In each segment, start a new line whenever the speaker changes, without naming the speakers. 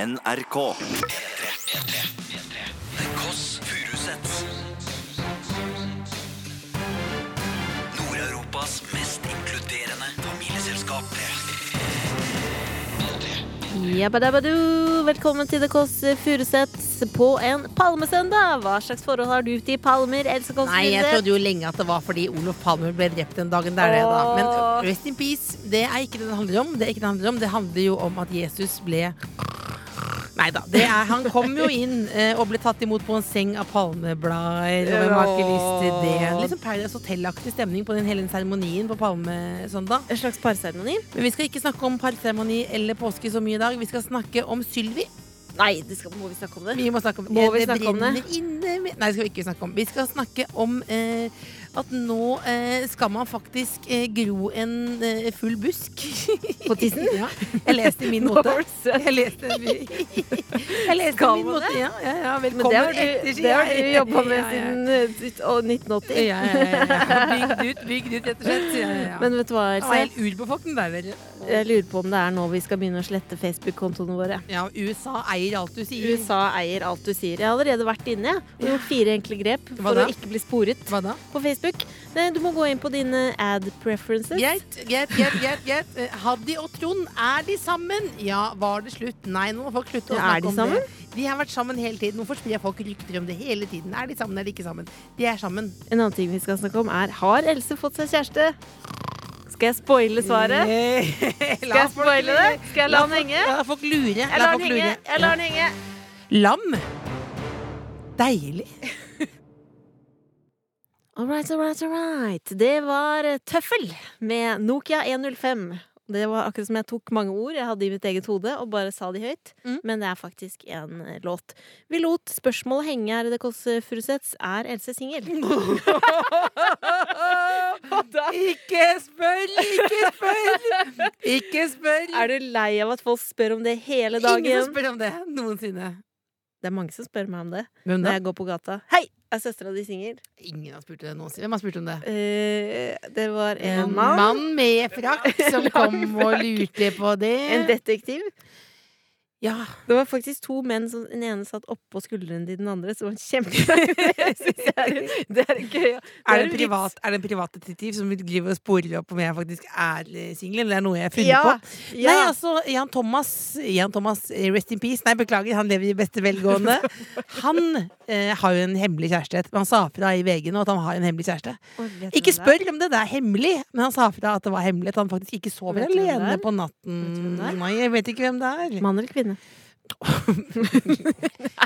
NRK.
The Kåss Furuseths. Nord-Europas mest inkluderende familieselskap.
Jabbadabadu. Velkommen til The Kåss Furuseths på en palmesøndag. Hva slags forhold har du til palmer? Else Kåss
Nei, jeg trodde jo lenge at det var fordi Olof Palmer ble drept den dagen. Det er det, da.
Åh.
Men rest in peace, det er ikke det det handler om. Det er ikke det det handler om. Det handler jo om at Jesus ble Nei da. det er- Han kom jo inn eh, og ble tatt imot på en seng av palmeblader. Og hvem har ikke lyst til det? Litt sånn Paradise Hotel-aktig stemning på den hele den seremonien på palmesøndag.
En slags parseremoni?
Men vi skal ikke snakke om parseremoni eller påske så mye i dag. Vi skal snakke om Sylvi.
Nei, det skal, må vi snakke om det?
Vi må snakke om det.
Må vi
det
snakke om det?
brenner Inne, med- nei, det skal vi ikke snakke om. Vi skal snakke om eh, at nå eh, skal man faktisk eh, gro en eh, full busk.
På tissen?
ja. Jeg leste i min
Nå
måte.
var det søtt.
Jeg leste, jeg leste i
Skal
min
man
måte. Ja, ja, ja.
Men
Velkommen
det har du,
etter, sier
det har
jeg.
du jobba med
Ja, ja.
siden eh, sitt- å, 1980.
ja, ja, ja, ja. Bygd ut, bygd ut, rett og slett. Ja, ja, ja.
Men vet du hva,
Det var helt
Else?
urbefolkning der, vel.
Jeg lurer på om det er nå vi skal begynne å slette Facebook-kontoene våre.
Ja, USA eier alt du sier.
USA eier alt du sier. Jeg har allerede vært inne jeg, og gjort fire enkle grep
Hva
for
da?
å ikke bli sporet
Hva da?
på Facebook. Nei, Du må gå inn på dine ad preferences.
Greit, greit, greit. greit, greit. Eh, Haddy og Trond, er de sammen? Ja, var det slutt? Nei, nå må folk slutte å
Ja, er
snakke
de
om det. De har vært sammen hele tiden. Hvorfor sprer folk rykter om det hele tiden? Er de sammen eller ikke sammen? De er sammen.
En annen ting vi skal snakke om er Har Else fått seg kjæreste? Skal jeg spoile svaret? Skal jeg spoile det? Skal jeg la den henge?
Eh, La folk lure.
Jeg lar den henge. Jeg lar den henge.
Lam. Deilig.
All right, all right, all right. Det var eh, Tøffel med Nokia 105. Det var akkurat som jeg tok mange ord jeg hadde i mitt eget hode, og bare sa de høyt.
Mm.
Men det er faktisk en eh, låt. Vi lot spørsmålet henge her i Det Kåss eh, Furuseths. Er Else singel?
Ikke spør, ikke spør! Ikke spør.
Er du lei av at folk spør om det hele
Ingen som
dagen?
spør om det noensinne.
Det er mange som spør meg om det
Hvem
når jeg går på gata. Hei, er søstera di singel?
Ingen har spurt om det noensinne. Hvem har spurt om det?
Eh, det var en
En
mann.
mann med frakk som
Lang
kom og
frakk.
lurte på det.
En detektiv.
Ja.
Det var faktisk to menn som den ene satt oppå skuldrene til den andre, som var kjempegøy. det er gøy. ja. en
Er det, en privat, er det en privat detektiv som driver og sporer opp om jeg faktisk er eh, singel? Eller det er noe jeg har
vits.
funnet
Ja,
på?
ja.
Nei, altså, Jan Thomas, Jan Thomas, eh, rest in peace. Nei, beklager, han lever i beste velgående. Han eh, har jo en hemmelig kjæreste. Men Han sa fra i VG nå at han har en hemmelig kjæreste.
Å, vet du
Ikke
hvem det er?
spør om det, det er hemmelig, men han sa fra at det var hemmelig. At han faktisk ikke sover
Vet du hvem det er?
alene på
Vet du
natten.
hvem det er?
Nei, jeg vet ikke hvem det er.
Mann eller kvinne?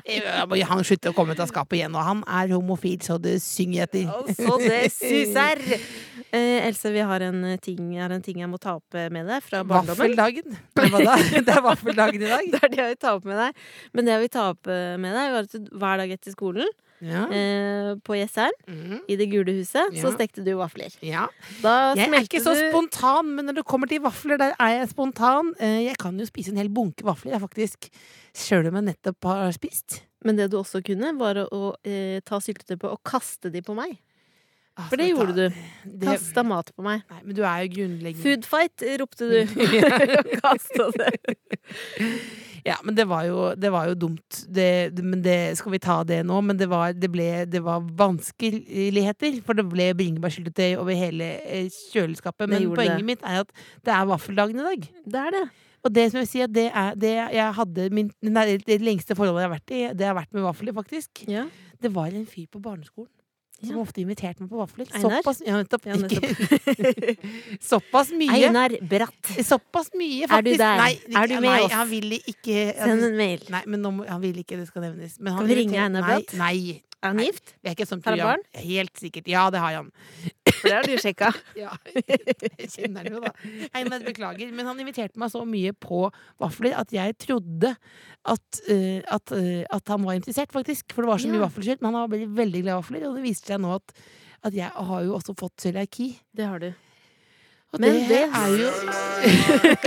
Ja, men Han slutter å komme ut av skapet igjen, og han er homofil, så det synger etter.
Altså, det suser! Eh, Else, vi har en eh, ting, er en ting jeg må ta opp eh, med deg fra barndommen.
Vaffeldagen. Det var da- det er vaffeldagen i dag.
Det er det jeg vil ta opp med deg. Men det jeg vil ta opp eh, med deg, var at du- hver dag etter skolen,
Ja.
eh, på Jesseren,
Mhm.
i det gule huset, så
Ja.
stekte du vafler.
ja.
Da
Jeg er
smelte
ikke så
du-
spontan, men når det kommer til vafler, der er jeg spontan. Eh, Jeg kan jo spise en hel bunke vafler, jeg faktisk. Sjøl om jeg nettopp har spist.
Men det du også kunne, var å, å eh, ta syltetøyet og kaste de på meg.
Ah,
For det
skal vi
gjorde du.
ta- Det,
Kasta mat på meg.
nei, men du er jo grunnleggende
Foodfight ropte du. Og Kasta det.
Ja, men det var jo, det var jo dumt. Det, det- men det, skal vi ta det nå? Men det var, det ble, det var vanskeligheter, for det ble bringebærsyltetøy over hele eh, kjøleskapet. Men
gjorde
poenget
det.
mitt er at det er vaffeldagen i dag.
Det er det.
Og det som jeg vil si, at det er det jeg hadde min, nei, det lengste forholdet jeg har vært i, det har vært med vafler, faktisk.
Ja.
Det var en fyr på barneskolen. Som
Ja.
ofte inviterte meg på vafler.
Einar?
Såpass, ja, nettopp,
Ja,
Ikke, såpass mye.
Einar Bratt.
Såpass mye, faktisk.
Er du der?
Nei,
Er du med
nei,
oss?
han ville ikke
Send en mail.
Nei, men nå må, han vil ikke det skal nevnes. Men han
Skal vi ringe
inviterer-
Einar Bratt?
Nei, nei,
Er han gift?
vi er ikke et sånt
Har han
program. Helt sikkert. Ja, det har han.
For det har du sjekka.
Ja. Jeg kjenner det jo, da. Einar, beklager. Men han inviterte meg så mye på vafler at jeg trodde at, eh, at, eh, at han var interessert, faktisk. For det var så mye
Ja.
vaffelskjøtt. Men han var veldig, veldig glad i vafler, og det viste seg nå at, at jeg har jo også fått cøliaki.
Det har du.
Og
Men det
er jo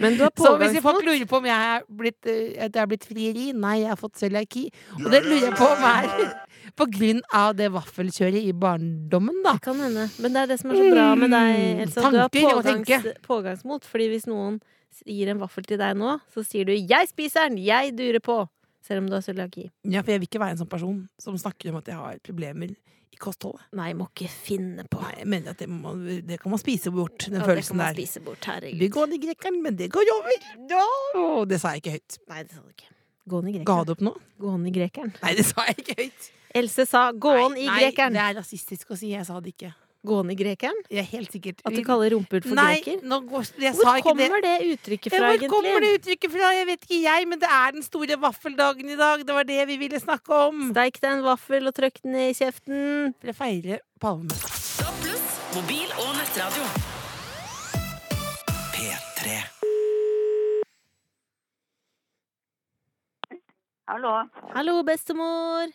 Men du har
Så hvis
pågangsmot.
folk lurer på om jeg er blitt, eh, at jeg er blitt frieri Nei, jeg har fått cøliaki. Og det lurer jeg på om er på grunn av det vaffelkjøret i barndommen, da.
Det kan hende. Men det er det som er så bra med deg, Elsa. Du har
Tanker Mm. å
pågangs, pågangsmot. Fordi hvis noen s- gir en vaffel til deg nå, så sier du 'jeg spiser den, jeg durer på'. Selv om du har cøliaki.
Ja, for jeg vil ikke være en sånn person som snakker om at jeg har problemer i kostholdet.
Nei, må ikke finne på.
Nei, jeg mener at det, må, man- det kan man spise bort, den
Ja, det kan
følelsen
man
der.
spise bort. Herregud.
Vi går ned i grekeren, men det går over. Å, det sa jeg ikke høyt.
Nei, det sa du ikke. Gående i
Ga
grekeren.
det opp nå?
Gående i grekeren.
Nei, det sa jeg ikke høyt.
Else sa 'gåen i
Nei,
grekeren'.
Nei, det er rasistisk å si. Jeg sa det ikke.
Gåen i grekeren?
Jeg er helt sikkert
At du kaller rumpehull for
Nei,
greker?
nå går, jeg sa
Hvor
ikke det.
kommer det uttrykket
Ja,
fra,
Hvor kommer det
egentlig?
uttrykket fra? Jeg vet ikke jeg, men det er den store vaffeldagen i dag. Det var det vi ville snakke om.
Steik deg en vaffel og trykk den i kjeften.
Dere feirer palme.
Mobil og nettradio.
P3.
Hallo.
Hallo, bestemor.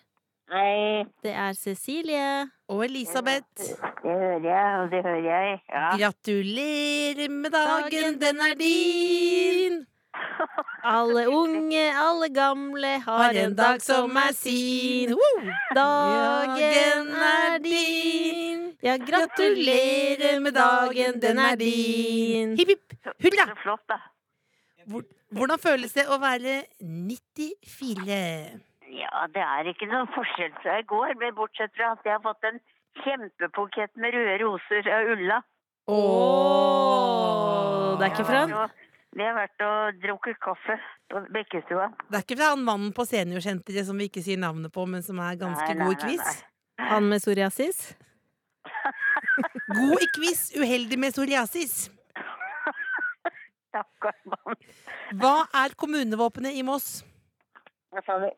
Hei.
Det er Cecilie.
Og Elisabeth,
Det hører jeg, og det hører jeg. Ja.
gratulerer med dagen, den er din.
Alle unge, alle gamle har en dag som er sin.
Woo!
Dagen er din. Ja, gratulerer med dagen, den er din.
Hipp, hipp. Hurra!
Så flott, da.
Hvor- Hvordan føles det å være 94?
Ja, det er ikke noen forskjell fra i går, men bortsett fra at jeg har fått en kjempebukett med røde roser av Ulla.
Åh, det er ikke
Jeg
fra
har
han?
vært og- Vi har vært og drukket kaffe på Bekkestua.
Det er ikke fra han mannen på seniorsenteret som vi ikke sier navnet på, men som er ganske
Nei, nei,
god i
nei,
quiz.
nei.
Han med psoriasis?
God i quiz, uheldig med psoriasis.
Stakkars mann.
Hva er kommunevåpenet i Moss?
Hva sa du? Å,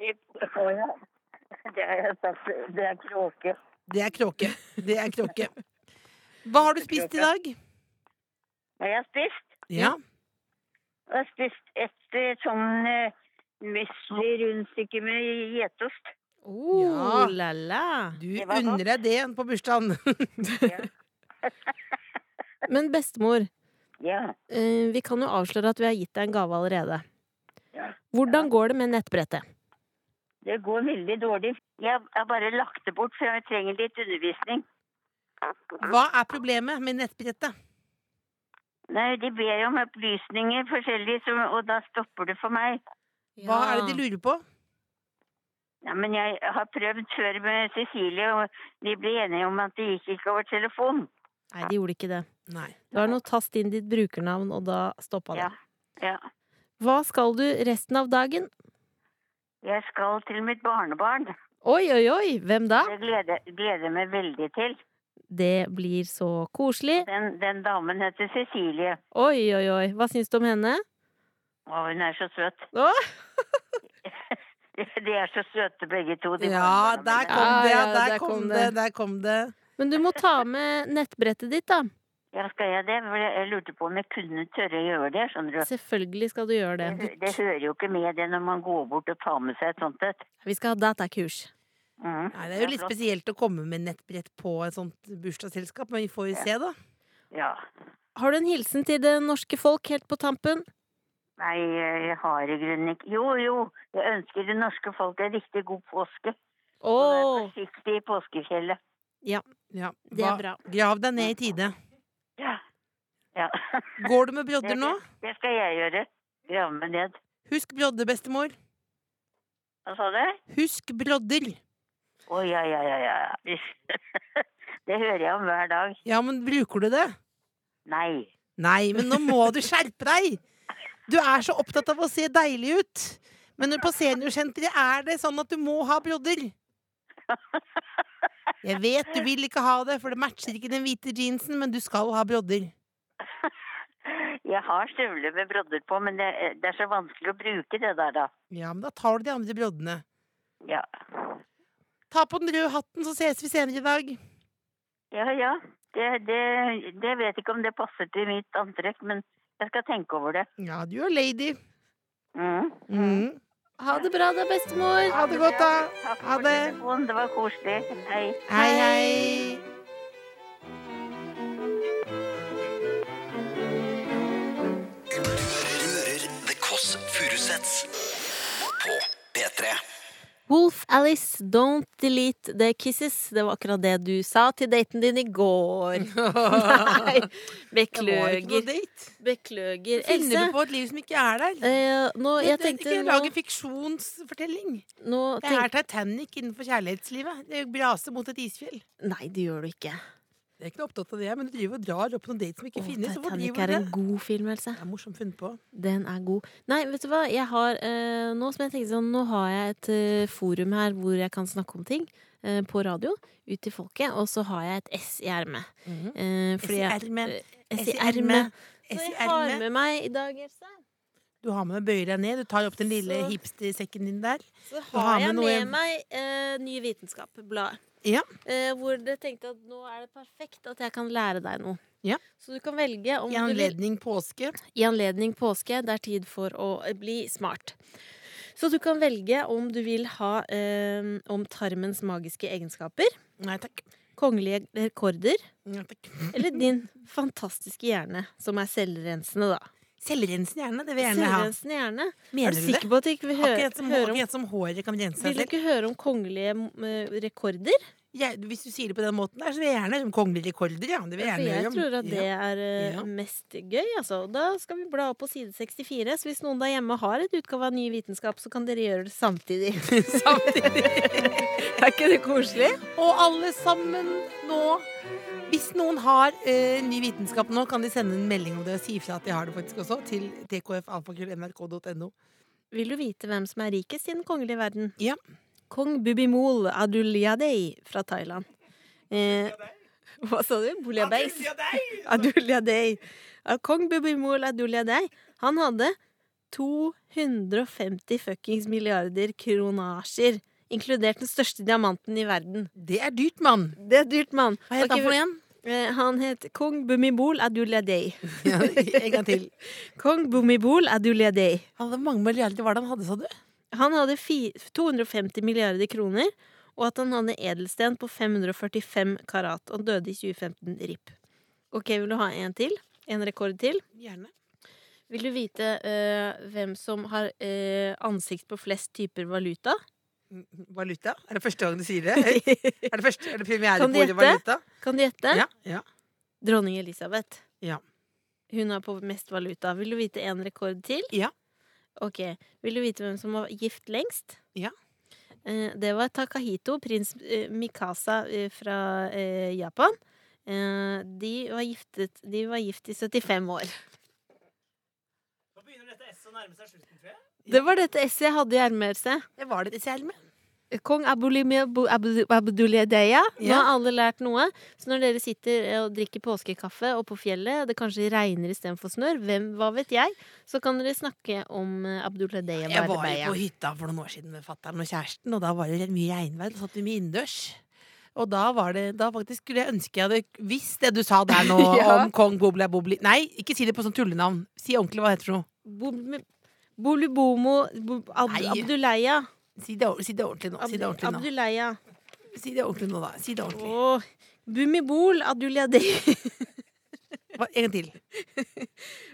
ja. Det har jeg sagt. Det er kråke.
Det er kråke. Det er kråke. Hva har du spist i dag?
Har jeg spist?
Ja.
Jeg har spist et eh, sånn uh, rundstykke med getost.
Oh, la la.
Du
Det var godt.
unner deg det på bursdagen.
Men bestemor,
Ja.
eh, vi kan jo avsløre at vi har gitt deg en gave allerede.
Ja.
Hvordan går det med nettbrettet?
Det går veldig dårlig. Jeg har bare lagt det bort, for jeg trenger litt undervisning.
Hva er problemet med nettbrettet?
Nei, De ber om opplysninger forskjellig, så, og da stopper det for meg.
Hva er det de lurer på?
Ja, men jeg har prøvd før med Cecilie, og de ble enige om at det gikk ikke over telefon.
Nei, de gjorde ikke det.
Nei.
Det var noe tast inn ditt brukernavn, og da stoppa det.
Ja. Ja.
Hva skal du resten av dagen?
Jeg skal til mitt barnebarn.
Oi, oi, oi! Hvem da?
Det gleder gleder jeg meg veldig til.
Det blir så koselig.
Den, den damen heter Cecilie,
Oi, oi, oi. Hva syns du om henne?
og hun er så søt.
Å,
De er så søte begge to. de
Ja,
barnebarna
der
mine.
kom
Ja,
det, ja,
ja,
der kom det, der kom det.
Men du må ta med nettbrettet ditt, da.
Ja, skal jeg det? For Jeg lurte på om jeg kunne tørre å gjøre det. skjønner du.
Selvfølgelig skal du gjøre
Det,
det.
hø- det hører jo ikke med det når man går bort og tar med seg et sånt et.
Vi skal ha datakurs.
Mhm.
Nei, det er jo litt
flott.
spesielt å komme med nettbrett på et sånt bursdagsselskap, men vi får jo se, da.
Ja.
Har du en hilsen til det norske folk helt på tampen?
Nei, jeg har i grunnen ikke Jo, jo, jeg ønsker det norske folk en riktig god påske.
Å,
Og vær forsiktig i påskefjellet.
Ja.
det
hva-
er bra.
Grav deg ned i tide.
Ja. ja.
Går du med brodder nå?
Det skal jeg gjøre. Grave meg ned.
Husk brodder, bestemor.
Hva sa du?
Husk brodder.
Å ja, ja, ja, ja. Det hører jeg om hver dag.
Ja, men bruker du det?
Nei.
Nei, men nå må du skjerpe deg! Du er så opptatt av å se deilig ut. Men på seniorsenteret er det sånn at du må ha brodder. Jeg vet du vil ikke ha det, for det matcher ikke den hvite jeansen, men du skal ha brodder.
Jeg har støvler med brodder på, men det, det er så vanskelig å bruke det der, da.
Ja, men da tar du de andre broddene.
Ja.
Ta på den røde hatten, så ses vi senere i dag.
Ja, ja. Det, det, det vet ikke om det passer til mitt antrekk, men jeg skal tenke over det.
Ja, du er lady.
Mm.
Mm.
Ha det bra da, bestemor.
Ha det godt, da.
Takk
Ha
for
det.
telefonen, det var koselig. Hei.
Hei, hei.
Furuseths. På P3.
Wolf Alice, don't delete the kisses. Det var akkurat det du sa til daten din i går. Nei,
Det var ikke noe
bekløger.
date.
Bekløger. Else,
Finner du på et liv som ikke er der?
eh, nå, jeg
Det- det-
tenkte
ikke
nå,
lag en fiksjonsfortelling.
nå
Det
tenk,
er Titanic innenfor kjærlighetslivet. Det braser mot et isfjell.
Nei, det gjør du ikke.
Jeg er ikke noe opptatt av det, men du driver og drar opp noen dates som ikke
Å,
finnes. Hvorfor
Titanic
driver
er
du
en
det?
god film, Else.
Det er morsomt funnet på.
Den er god. Nei, vet du hva, jeg har eh, Nå som jeg tenkte sånn, nå har jeg et eh, forum her hvor jeg kan snakke om ting eh, på radio ut til folket, og så har jeg et S i ermet.
Mhm.
Eh,
S
fordi
i
jeg-
ermet.
eh,
S i
Så
ermet. S i
jeg har
ermet.
med meg i dag, Else
Du har med deg bøyer deg ned, du tar opp den lille
Så-
hipstersekken din der.
Så
Du
har,
har
jeg
med
med,
noe hjem.
meg eh, Ny Vitenskap-bladet.
Ja.
Eh, hvor det tenkte at nå er det perfekt at jeg kan lære deg noe.
Ja.
Så du kan velge om
I
du vil
anledning påske.
I anledning påske, det er tid for å eh, bli smart. Så du kan velge om du vil ha eh, om tarmens magiske egenskaper,
Nei takk.
kongelige rekorder,
Nei, takk.
eller din fantastiske hjerne, som er selvrensende, da.
Selvrensende hjerne, det vil jeg gjerne ha.
Selvrensende hjerne?
Mener
er du
du
sikker
det?
på at du ikke vil høre,
Akkurat som,
høre om
akkurat som håret kan rense seg
Vil du
selv.
ikke høre om kongelige eh, rekorder?
Jeg, hvis du sier det på den måten der, så vil jeg gjerne høre om kongelige rekorder. Ja. Det vil jeg
For
gjerne høre
jeg
om.
tror at det
ja.
er eh,
Ja.
mest gøy, altså. Og Da skal vi bla opp på side 64, så hvis noen der hjemme har et utgave av Ny vitenskap, så kan dere gjøre det samtidig. er ikke det koselig?
Og alle sammen nå Hvis noen har eh, ny vitenskap nå, kan de sende en melding om det og si ifra at de har det faktisk også, til tkfalfakrøllnrk.no.
Vil du vite hvem som er rikest i den kongelige verden?
Ja.
Kong Bubimol Adulyadej fra Thailand. Eh, hva sa du? Buliabeis? Adulyadej. Ja, Kong Bubimol Adulyadej, han hadde 250 fuckings milliarder kronasjer. Inkludert den største diamanten i verden.
Det er dyrt, mann!
Det er dyrt, mann.
Hva het
Ok,
han for noe igjen?
eh, han het kong Bumibol Adulyadej.
en gang til.
Kong Bumibol Adulyadej.
Han hadde mange milliarder hva var det han hadde, sa du?
Han hadde fi- 250 milliarder kroner, og at han hadde edelsten på 545 karat. Og døde i 2015. RIP. Ok, vil du ha en til? En rekord til?
Gjerne.
Vil du vite eh, hvem som har eh, ansikt på flest typer valuta?
Valuta? Er det første gang du sier det? Eh, Er det, første, er det premiere
Kan
på
du
ordet
gjette?
valuta?
Kan du gjette?
Ja, ja.
Dronning Elisabeth.
Ja.
Hun har på mest valuta. Vil du vite en rekord til?
Ja.
Ok. Vil du vite hvem som var gift lengst?
Ja.
Eh, Det var Takahito, prins eh, Mikasa eh, fra eh, Japan. Eh, De var, giftet, de var gift i 75 år. Det var dette esset jeg hadde i ermeelse.
Det var det selv med.
Kong Abulimi- Abu- Abu- Abduliadeya. Nå
Ja.
har alle lært noe. Så når dere sitter eh, og drikker påskekaffe og på fjellet, og det kanskje regner istedenfor snør, hvem, hva vet jeg, så kan dere snakke om eh, Abduliadeya
Jeg var jo
Barbeya.
på hytta for noen år siden med fatter'n og kjæresten, og da var det mye regnvær. Da satt vi mye innendørs. Og da var det Da faktisk skulle jeg ønske jeg hadde visst det du sa der nå
Ja.
om kong Bobla Bobli Nei, ikke si det på sånn tullenavn. Si ordentlig hva det heter for noe.
Bo- Bolubomo Bo- Ab
Nei.
Abduleia.
Si det, si det ordentlig nå. Si det ordentlig nå.
Abduleia.
Si det ordentlig nå, da. Si det ordentlig.
Åh. Bumibol Aduliadei.
Hva, en gang til.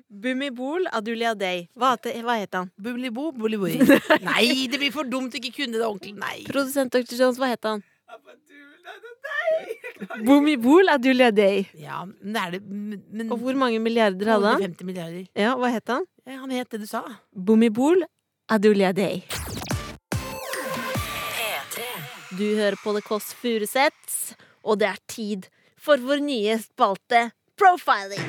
Bumibol Aduliadei. Hva, het- hva het han?
Bublibo, buliboi. Nei, det blir for dumt å ikke kunne det ordentlig. Nei.
Produsent Dr. Jones, hva het han? Bumibol Aduliadei.
Ja, men det er det Men men-
Og hvor mange milliarder hadde han?
250 milliarder.
Ja, hva het han?
Ja, Han het det du sa.
Bumibol Aduliadei. Du hører på The Kåss Furuseths, og det er tid for vår nye spalte Profiling.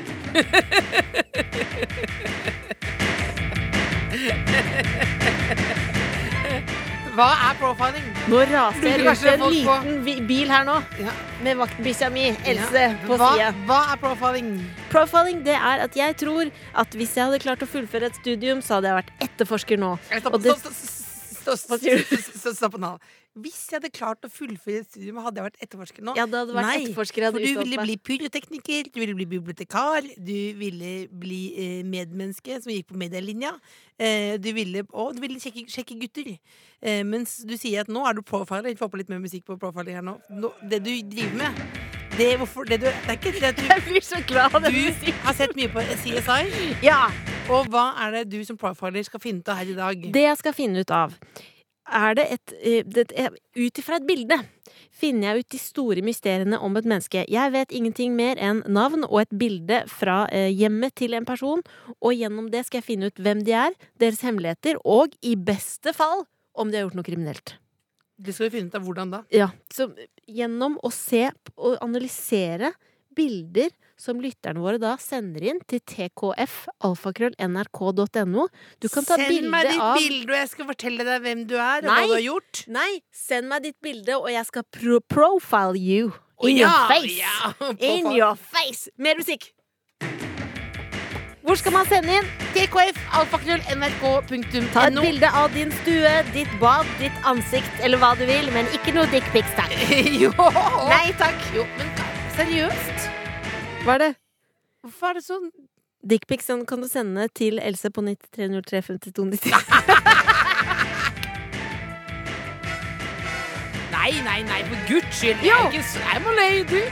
Hva er profiling?
Nå raser jeg
Lurer
rundt
kanskje
en
folk på-
liten vi- bil her nå
Ja.
med vaktbikkja mi, Else,
Ja.
på
hva,
sida.
hva er profiling?
Profiling det er at jeg tror at hvis jeg hadde klart å fullføre et studium, så hadde jeg vært etterforsker nå.
Stopp,
Og det-
stopp, stopp,
Hva
stopp,
sier du?
stopp, stopp, stopp nå. Hvis jeg hadde klart å fullføre et studium, hadde jeg vært etterforsker nå.
Ja, det hadde vært
Nei,
etterforsker jeg
for
hadde
du
utdannet
ville
meg.
bli pyrotekniker, du ville bli bibliotekar, du ville bli eh, medmenneske som gikk på medielinja. Eh, du ville, og du ville sjekke, sjekke gutter. Eh, mens du sier at nå er du profiler. Få på litt mer musikk på profiling her nå. nå det du driver med, det, hvorfor, det, du, det er ikke det at du
Jeg blir så glad av den
Du
musikken.
har sett mye på CSI.
Ja.
Og hva er det du som profiler skal finne ut av her i dag?
Det jeg skal finne ut av, er det et eh, det, eh, Ut ifra et bilde finner jeg ut de store mysteriene om et menneske. Jeg vet ingenting mer enn navn og et bilde fra eh, hjemmet til en person, og gjennom det skal jeg finne ut hvem de er, deres hemmeligheter, og i beste fall om de har gjort noe kriminelt.
Det skal vi finne ut av hvordan da.
Ja, så eh, gjennom å se p- og analysere bilder som lytterne våre da sender inn til tkfalfakrøllnrk.no. Du kan ta
Send meg
bilde
ditt
av
bilde, og jeg skal fortelle deg hvem du er, og
Nei.
hva du har gjort.
Nei, send meg ditt bilde, og jeg skal pro profile you.
Å,
In
ja,
your face!
ja,
In
profile.
your face! Mer musikk! Hvor skal man sende inn?
TKF, alfakrøll, nrk.no.
Ta et bilde av din stue, ditt bad, ditt ansikt eller hva du vil, men ikke noe dickpics, takk.
jo!
Nei takk.
Jo, men seriøst?
Hva er det?
Hvorfor er det sånn?
Dickpics den kan du sende til Else på 93035290.
Nei, nei, nei, for guds skyld. Jeg
Jo.
er ikke så- I'm a lady.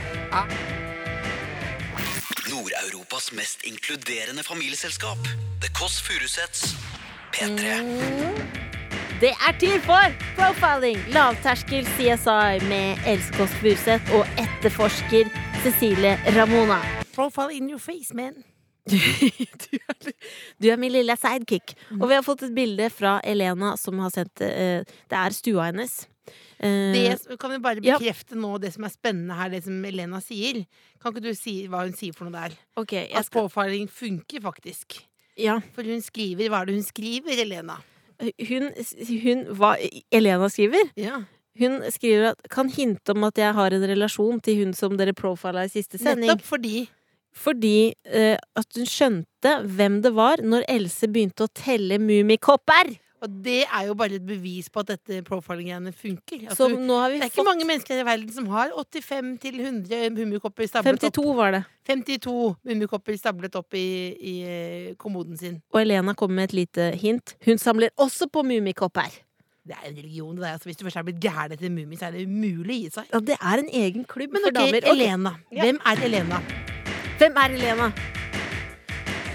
Nord-Europas mest inkluderende familieselskap. The Kåss Furuseths. P3.
Det er tid for profiling! Lavterskel CSI med Else Kåss Furuseth og etterforsker Cecilie Ramona.
Profile in your face, man.
du, er, du er min lille sidekick. Og vi har fått et bilde fra Elena som har sendt eh, Det er stua hennes. Eh,
Det kan vi bare
Ja.
bekrefte nå, det som er spennende her, det som Elena sier. Kan ikke du si hva hun sier for noe der?
ok, jeg
At
skal,
profiling funker faktisk.
ja.
For hun skriver Hva er det hun skriver, Elena?
hun, hun Hva Elena skriver?
Ja.
Hun skriver at kan hinte om at jeg har en relasjon til hun som dere profila i siste sending.
Nettopp fordi
Fordi eh, at hun skjønte hvem det var når Else begynte å telle mummikopper!
Og det er jo bare et bevis på at dette profiling-greiene funker. At
Så
du-
nå har vi
det er ikke
fått
mange mennesker i verden som har 85 til 100 mummikopper stablet opp.
52 var det.
52 mummikopper stablet opp i, i eh, kommoden sin.
Og Elena kommer med et lite hint. Hun samler også på mummikopper.
Det er en religion. Det er, altså, hvis du først er blitt gæren etter mumier, så er det umulig å gi seg.
Ja, det er en egen klubb
Men
for
ok,
damer. Ok,
Elena. Hvem er Elena?
Hvem er Elena?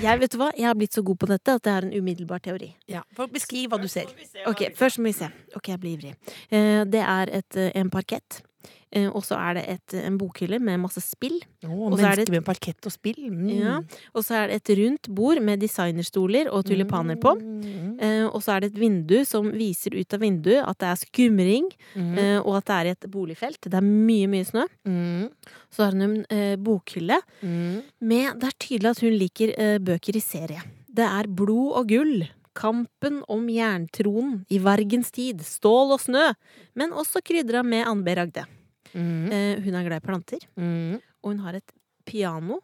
Jeg vet du hva, jeg har blitt så god på dette at det er en umiddelbar teori.
Ja, for beskriv hva du ser.
Ok, Først må vi se. Ok, jeg blir ivrig. Eh, Det er et, eh, en parkett. Eh, Og så er det et, eh, en bokhylle med masse spill.
Oh,
Og så er det-
mennesker med parkett og spill. Mm.
Ja. Og så er det et rundt bord med designerstoler og tulipaner på.
Mm.
Eh, Og så er det et vindu som viser ut av vinduet at det er skumring,
Mm.
eh, og at det er i et boligfelt. Det er mye, mye snø.
Mm.
Så har hun en eh, bokhylle
Mm.
med Det er tydelig at hun liker eh, bøker i serie. Det er blod og gull. Kampen om jerntronen i Vargens tid. Stål og snø. Men også krydra med Anne B. Ragde.
Mm.
Eh, hun er glad i planter,
Mm.
og hun har et piano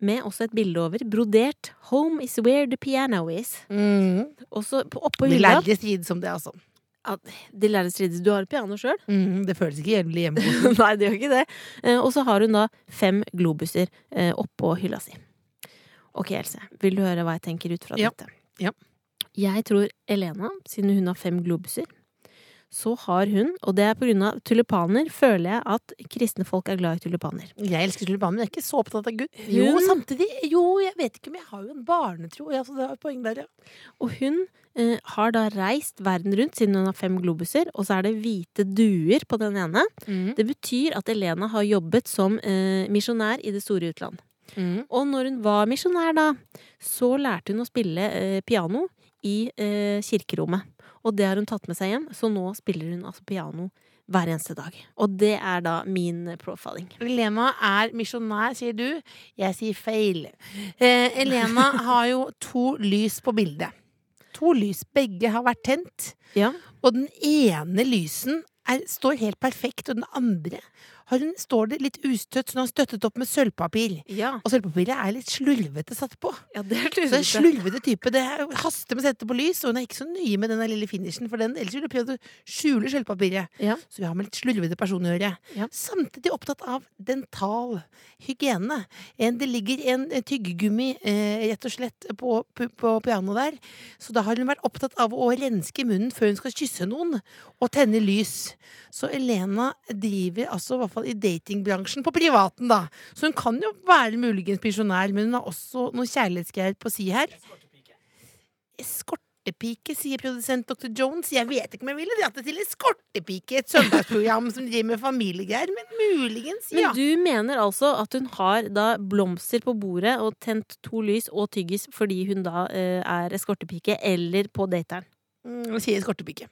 med også et bilde over. Brodert 'Home is where the piano is'.
Mm.
Også på, oppå
Vi
hylla.
lærte strid som det, altså.
De lærde strides. Du har et piano sjøl?
Mm. Det føles ikke jævlig hjemme.
Nei, det gjør ikke det. Eh, Og så har hun da fem globuser eh, oppå hylla si. Ok, Else. Vil du høre hva jeg tenker ut fra
Ja.
dette?
Ja.
Jeg tror Elena, siden hun har fem globuser, så har hun, og det er på grunn av tulipaner, føler jeg at kristne folk er glad i tulipaner.
Jeg elsker tulipaner, men jeg er ikke så opptatt av Gud. Jo,
Hun-
samtidig. Jo, jeg vet ikke, men jeg har jo en barnetro. Ja, så det er et poeng der, ja.
Og hun eh, har da reist verden rundt, siden hun har fem globuser, og så er det hvite duer på den ene. Det betyr at Elena har jobbet som eh, misjonær i det store utland. Og når hun var misjonær, da, så lærte hun å spille eh, piano i eh, kirkerommet. Og det har hun tatt med seg hjem, så nå spiller hun altså piano hver eneste dag. Og det er da min eh, profiling.
Elena er misjonær, sier du. Jeg sier feil. Eh, Elena har jo to lys på bildet. To lys. Begge har vært tent.
Ja.
Og den ene lysen er, står helt perfekt, og den andre har hun, står det litt ustøtt, så hun har støttet opp med sølvpapir.
Ja,
Og sølvpapiret er litt slurvete satt på.
det er
Så en slurvete type. Det er haster med å sette på lys, og hun er ikke så nøye med den der lille finishen, for den, ellers ville hun prøvd å skjule sølvpapiret.
Ja.
Så vi har med litt slurvete person å gjøre.
Ja.
Samtidig opptatt av dental hygiene. En, det ligger en eh, tyggegummi eh, rett og slett på, på, på pianoet der, så da har hun vært opptatt av å renske munnen før hun skal kysse noen, og tenne lys. Så Elena driver altså i hvert fall i datingbransjen på privaten, da. Så hun kan jo være muligens misjonær, men hun har også noen kjærlighetsgreier på si her. eskortepike, sier produsent Dr. Jones. Jeg vet ikke om jeg ville dratt det til eskortepike, et søndagsprogram som driver med familiegreier, men muligens,
Men
ja.
du mener altså at hun har da blomster på bordet og tent to lys og tyggis fordi hun da eh, er eskortepike eller på dateren?
Mm, sier eskortepike.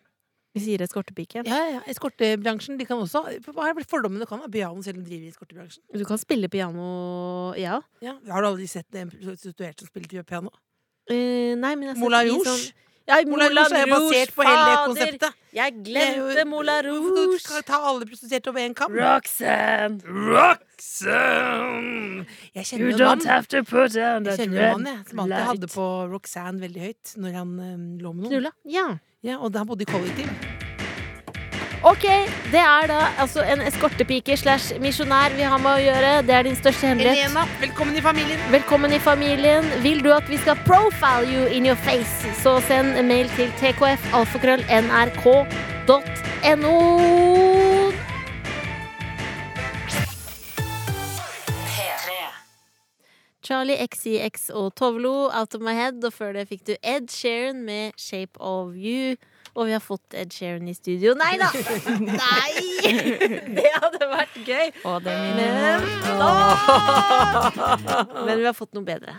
Vi sier eskortepike.
Ja, ja, ja. Eskortebransjen de kan også Hva er fordommene du kan ha? Bjørn selv om driver i eskortebransjen.
Du kan spille piano, ja.
Ja. Har du aldri sett en prostituert som spiller piano?
Eh, nei, men jeg har
Moulin
sett i
Rouge.
sånn- Ja,
Moulin Rouge er jo basert på hele det
fader!
konseptet.
Jeg
Det er
glemte
jo-
Moulin
Hvorfor
Rouge!
skal du ta alle prostituerte over én kam?
Roxanne,
Roxanne! Jeg kjenner jo en mann,
have to put down
jeg kjenner jo en mann jeg, som alltid hadde på Roxanne veldig høyt når han eh, lå med noen.
Knulla. Ja.
Ja, og da han bodde i kollektiv.
Ok, det er da altså en eskortepike slash misjonær vi har med å gjøre. Det er din største hemmelighet.
Elena, velkommen i familien!
Velkommen i familien. Vil du at vi skal profile you in your face, så send en mail til tkf.alfakrøll.nrk.no. Charlie XCX og Tovlo, Out of my head. Og før det fikk du Ed Sheeran med Shape of you. Og vi har fått Ed Sheeran i studio. Nei da! Nei! Det hadde vært gøy. Men, Men vi har fått noe bedre.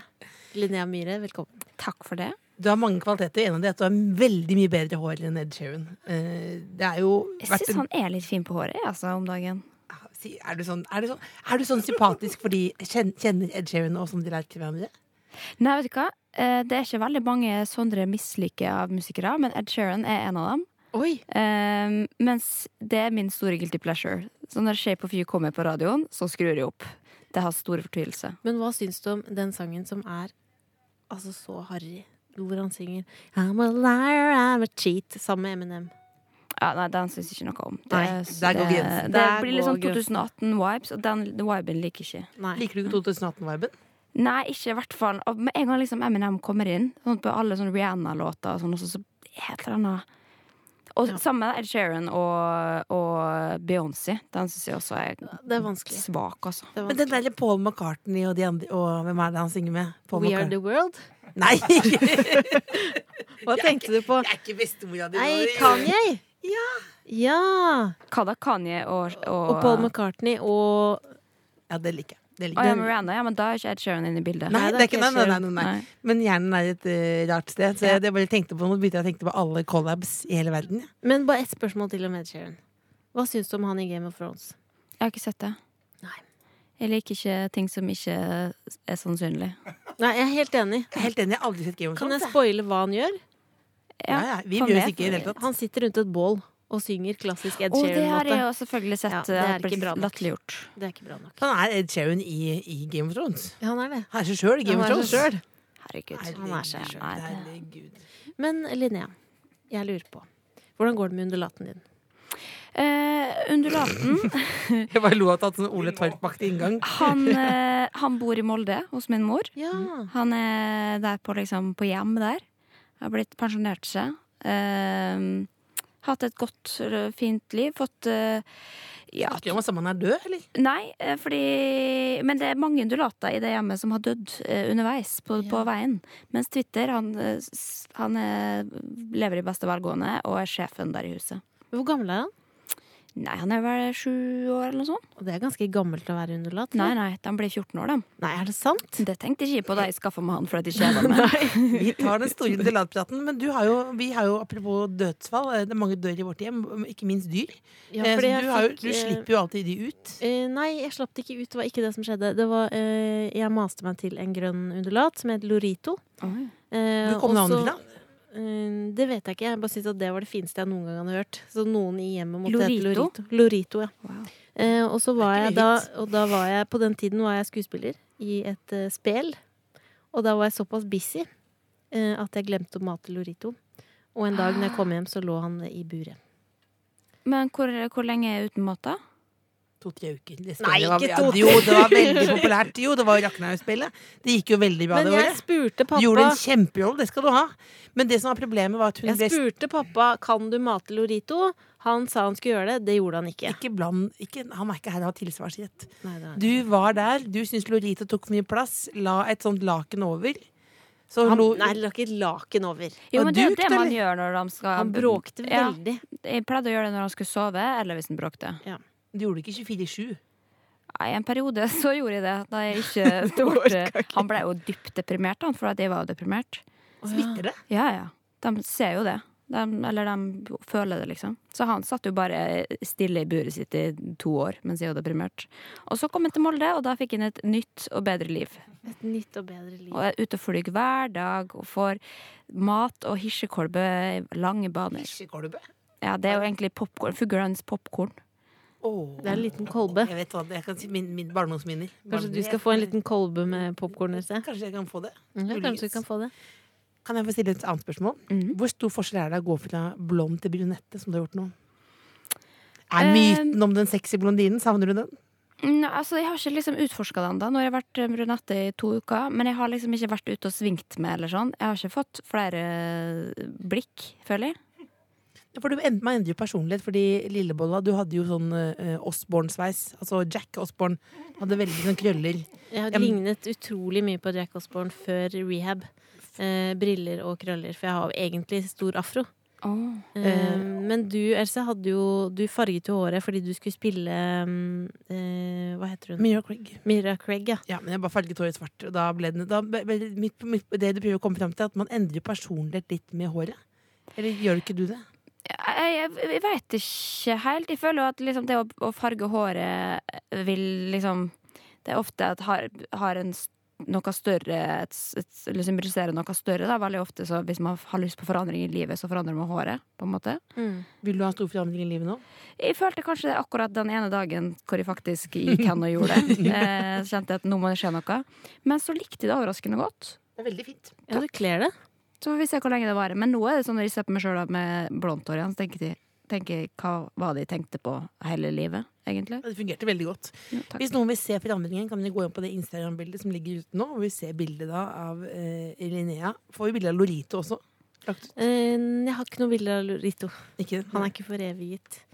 Linnea Myhre, velkommen.
Takk for det.
Du har mange kvaliteter. En av de er at du har veldig mye bedre hår enn Ed Sheeran. Eh, Det er jo
Jeg
vært
syns han er litt fin på håret jeg, altså, om dagen.
Si- Er du sånn, er du sånn, er du sånn sympatisk fordi kjen- kjenner Ed Sheeran og sånn de liker hverandre?
Nei, vet du hva? Eh, Det er ikke veldig mange Sondre misliker av musikere, men Ed Sheeran er en av dem.
Oi!
Eh, mens det er min store guilty pleasure. Så når Shape of You kommer på radioen, så skrur jeg opp. Det har stor fortvilelse.
Men hva syns du om den sangen som er altså så harry? Hvor han synger I'm a liar, I'm a cheat, sammen med Eminem.
Ja, nei, den syns jeg ikke noe om. Det,
Nei,
er-
der går grensen.
Det, det
Der
blir litt
går
sånn 2018-vibes, og den viben liker jeg ikke.
Nei.
Liker du ikke 2018-viben?
Nei, ikke i hvert fall. Og Med en gang liksom Eminem kommer inn, sånn på alle sånne Rihanna-låter og sånn, også, så et eller annet Og sammen med Ed Sheeran og, og Beyoncé. Den syns jeg også er
Det er vanskelig.
svak, altså.
Det er
Men den
vanskelig.
derre Paul McCartney og de andre Og hvem er det han synger med? Paul
We are the
McCartney.
world.
Nei! Jeg
Hva tenkte du på?
er ikke bestemora di.
Nei,
Nori.
Kanye! Ja!
Hva da? Kanye og, og,
Og Paul McCartney og
Ja, det liker jeg. Det
Å
liker
ja,
jeg.
Rihanna. Ja, men da er ikke Ed Sheeran inne i bildet.
Nei, det er ikke, nei, nei, nei, nei, nei.
Nei.
Men hjernen er et eh, rart sted. Så
Ja.
jeg det bare tenkte på nå begynte jeg å tenke på alle collabs i hele verden. Ja.
Men bare ett spørsmål til om Ed Sheeran. Hva syns du om han i Game of Thrones?
Jeg har ikke sett det.
Nei.
Jeg liker ikke ting som ikke er sannsynlig.
Nei, jeg er helt enig.
Jeg er Helt enig, jeg har aldri sett Game of
Kan jeg
Thrones. jeg.
spoile hva han gjør?
Ja,
Ja, ja, vi
for
bryr oss
meg,
ikke i det
for-
hele tatt.
Han sitter rundt et bål og synger klassisk Ed
Å, det har jeg
Sheeran-låte.
jo selvfølgelig sett.
Ja, det
eh,
er ikke
blitt
bra nok.
Latterliggjort.
Det er ikke bra nok.
Han er Ed Sheeran i, i Game of Thrones.
Han er det.
Han er seg sjøl i Game
Han
of
er seg
Thrones.
selv.
Herregud.
Han er seg
selv.
Herregud.
Nei,
Herregud.
Men Linnea, jeg lurer på. Hvordan går det med undulaten din?
Eh, undulaten
Jeg bare lo at du hadde sånn Ole Torp-aktig inngang.
han, eh, han bor i Molde hos min mor.
Ja.
Han er der på, liksom, på hjem der. Har blitt pensjonert seg. Ehm, hatt et godt, eh, fint liv. Fått eh, ja,
Snakker vi om at sammen er død, eller?
Nei, eh, fordi Men det er mange undulater i det hjemmet som har dødd eh, underveis på, på veien. Mens Twitter, han, eh, s- han eh, lever i beste velgående og er sjefen der i huset.
Hvor gammel er han?
Nei, han er vel sju år eller noe sånt?
Og det er ganske gammelt å være undulat.
Nei, nei, de blir 14 år, de.
Nei, er det sant?
Det tenkte jeg ikke på da jeg skaffa meg han. For at jeg ikke er med.
Vi tar den store delatpraten, men du har jo, vi har jo apropos dødsfall, eh, det er mange dør i vårt hjem, ikke minst dyr.
Ja,
Eh,
fordi
så
jeg
du, har jo,
fikk,
du
eh,
slipper jo alltid de ut.
eh, nei, jeg slapp det ikke ut. Det var ikke det som skjedde. Det var, eh, jeg maste meg til en grønn undulat som het Lorito.
Oi.
Eh,
Hvor
og
kom det andre
så-
fra?
Eh, det vet jeg ikke. Jeg bare syntes at det var det fineste jeg noen gang hadde hørt. Så noen i hjemmet måtte hete
Lorito?
Lorito. Lorito, ja.
Wow.
Eh, og så var
Det er
jeg
ikke
da,
litt.
og da var jeg, på den tiden var jeg skuespiller i et eh, spel. Og da var jeg såpass busy eh, at jeg glemte å mate Lorito. Og en dag når jeg kom hjem, så lå han i buret.
Men hvor, hvor lenge er jeg uten mat, da?
To-tre uker. Det
Nei,
spillet var-
ikke
ja,
to-
Jo, det var veldig populært. Jo, det var jo Raknhaug-spillet. Det gikk jo veldig bra
Men
det
jeg
året.
spurte
Du gjorde
pappa
en kjemperolle, det skal du ha. Men det som var problemet, var at hun
Jeg
ble
spurte pappa kan du mate Lorito. Han sa han skulle gjøre det. Det gjorde han ikke.
ikke bland ikke, Han er ikke her og har tilsvarsrett.
Nei, det er-
Du var der, du syntes Lorito tok for mye plass, la et sånt laken over. Så
Han,
lo,
nei, det lå ikke et laken over.
Jo,
Og
men det er
dukt,
det man
eller?
gjør når de skal
Han bråkte
Ja.
veldig.
Jeg pleide å gjøre det når han skulle sove, eller hvis han bråkte.
Du gjorde det ikke 24-7.
Nei, en periode så gjorde jeg det. Da jeg ikke tålte Han ble jo dypt deprimert, han, for at jeg var jo deprimert.
Smitter det?
Ja, ja. De ser jo det. De, eller de føler det, liksom. Så han satt jo bare stille i buret sitt i to år mens jeg var deprimert. Og så kom han til Molde, og da fikk han et nytt og bedre liv.
Et nytt og bedre liv.
Og er ute og flyr hver dag og får mat og hirsekolbe i lange baner.
Nisjekolbe.
Ja, det er jo egentlig popkorn. Fuglens popkorn.
Åh.
Det er en liten kolbe.
Jeg vet hva det jeg kan si. Min, min barndomsminner.
Kanskje du skal få en liten kolbe med popkorn? Else?
Kanskje jeg kan få det.
Ja, kanskje
Muligens.
du kan få det.
Kan jeg få stille et annet spørsmål?
Mhm.
Hvor stor forskjell er det å gå fra blond til brunette, som du har gjort nå? Er
Eh,
myten om den sexy blondinen, savner du den?
Mm, altså, jeg har ikke liksom utforska den da. Nå har jeg vært eh, brunette i to uker. Men jeg har liksom ikke vært ute og svingt med eller sånn. Jeg har ikke fått flere eh, blikk, føler jeg.
Ja, For du end, Man endrer jo personlighet, fordi Lillebolla, du hadde jo sånn uh, Osborne-sveis. Altså Jack Osborne hadde veldig sånn krøller.
Jeg har
Ja, men-
lignet utrolig mye på Jack Osborne før rehab. Eh, briller og krøller, for jeg har egentlig stor afro. Eh, men du, Else, hadde jo Du farget jo håret fordi du skulle spille mm, eh, Hva heter hun?
Mira Craig.
Mira Craig, ja.
Ja, men jeg bare farget håret svart. Og da ble den, da, ble- ble- mitt, mitt, det du prøver å komme fram til, er at man endrer personlighet litt med håret. Eller gjør ikke du det?
Jeg, jeg, jeg veit ikke helt. Jeg føler jo at liksom det å, å farge håret vil liksom Det er ofte at har, har en s- noe større et, s- et, s- Eller symboliserer noe større. Da. Veldig ofte så hvis man har lyst på forandring i livet, så forandrer man håret. på en måte
Vil du ha en stor forandring i livet nå?
Jeg følte kanskje det akkurat den ene dagen hvor jeg faktisk gikk hen og gjorde det. Eh, så kjente jeg at nå må det skje noe. Men så likte jeg det overraskende godt.
Det er veldig fint.
Ja, du kler det.
Så får vi se hvor lenge det varer. Men nå er det sånn når jeg ser på meg sjøl med blondt hår igjen, så tenker jeg, tenker jeg hva var det jeg tenkte på hele livet, egentlig.
Det fungerte veldig godt.
Ja, takk.
Hvis noen vil se forandringen, kan dere gå inn på det Instagram-bildet som ligger ute nå. Og vi ser bildet da av eh, Linnea. Får vi bilde av Lorito også? Lagt ut?
Eh, jeg har ikke noe bilde av Lorito.
Ikke det?
Han er ikke foreviget.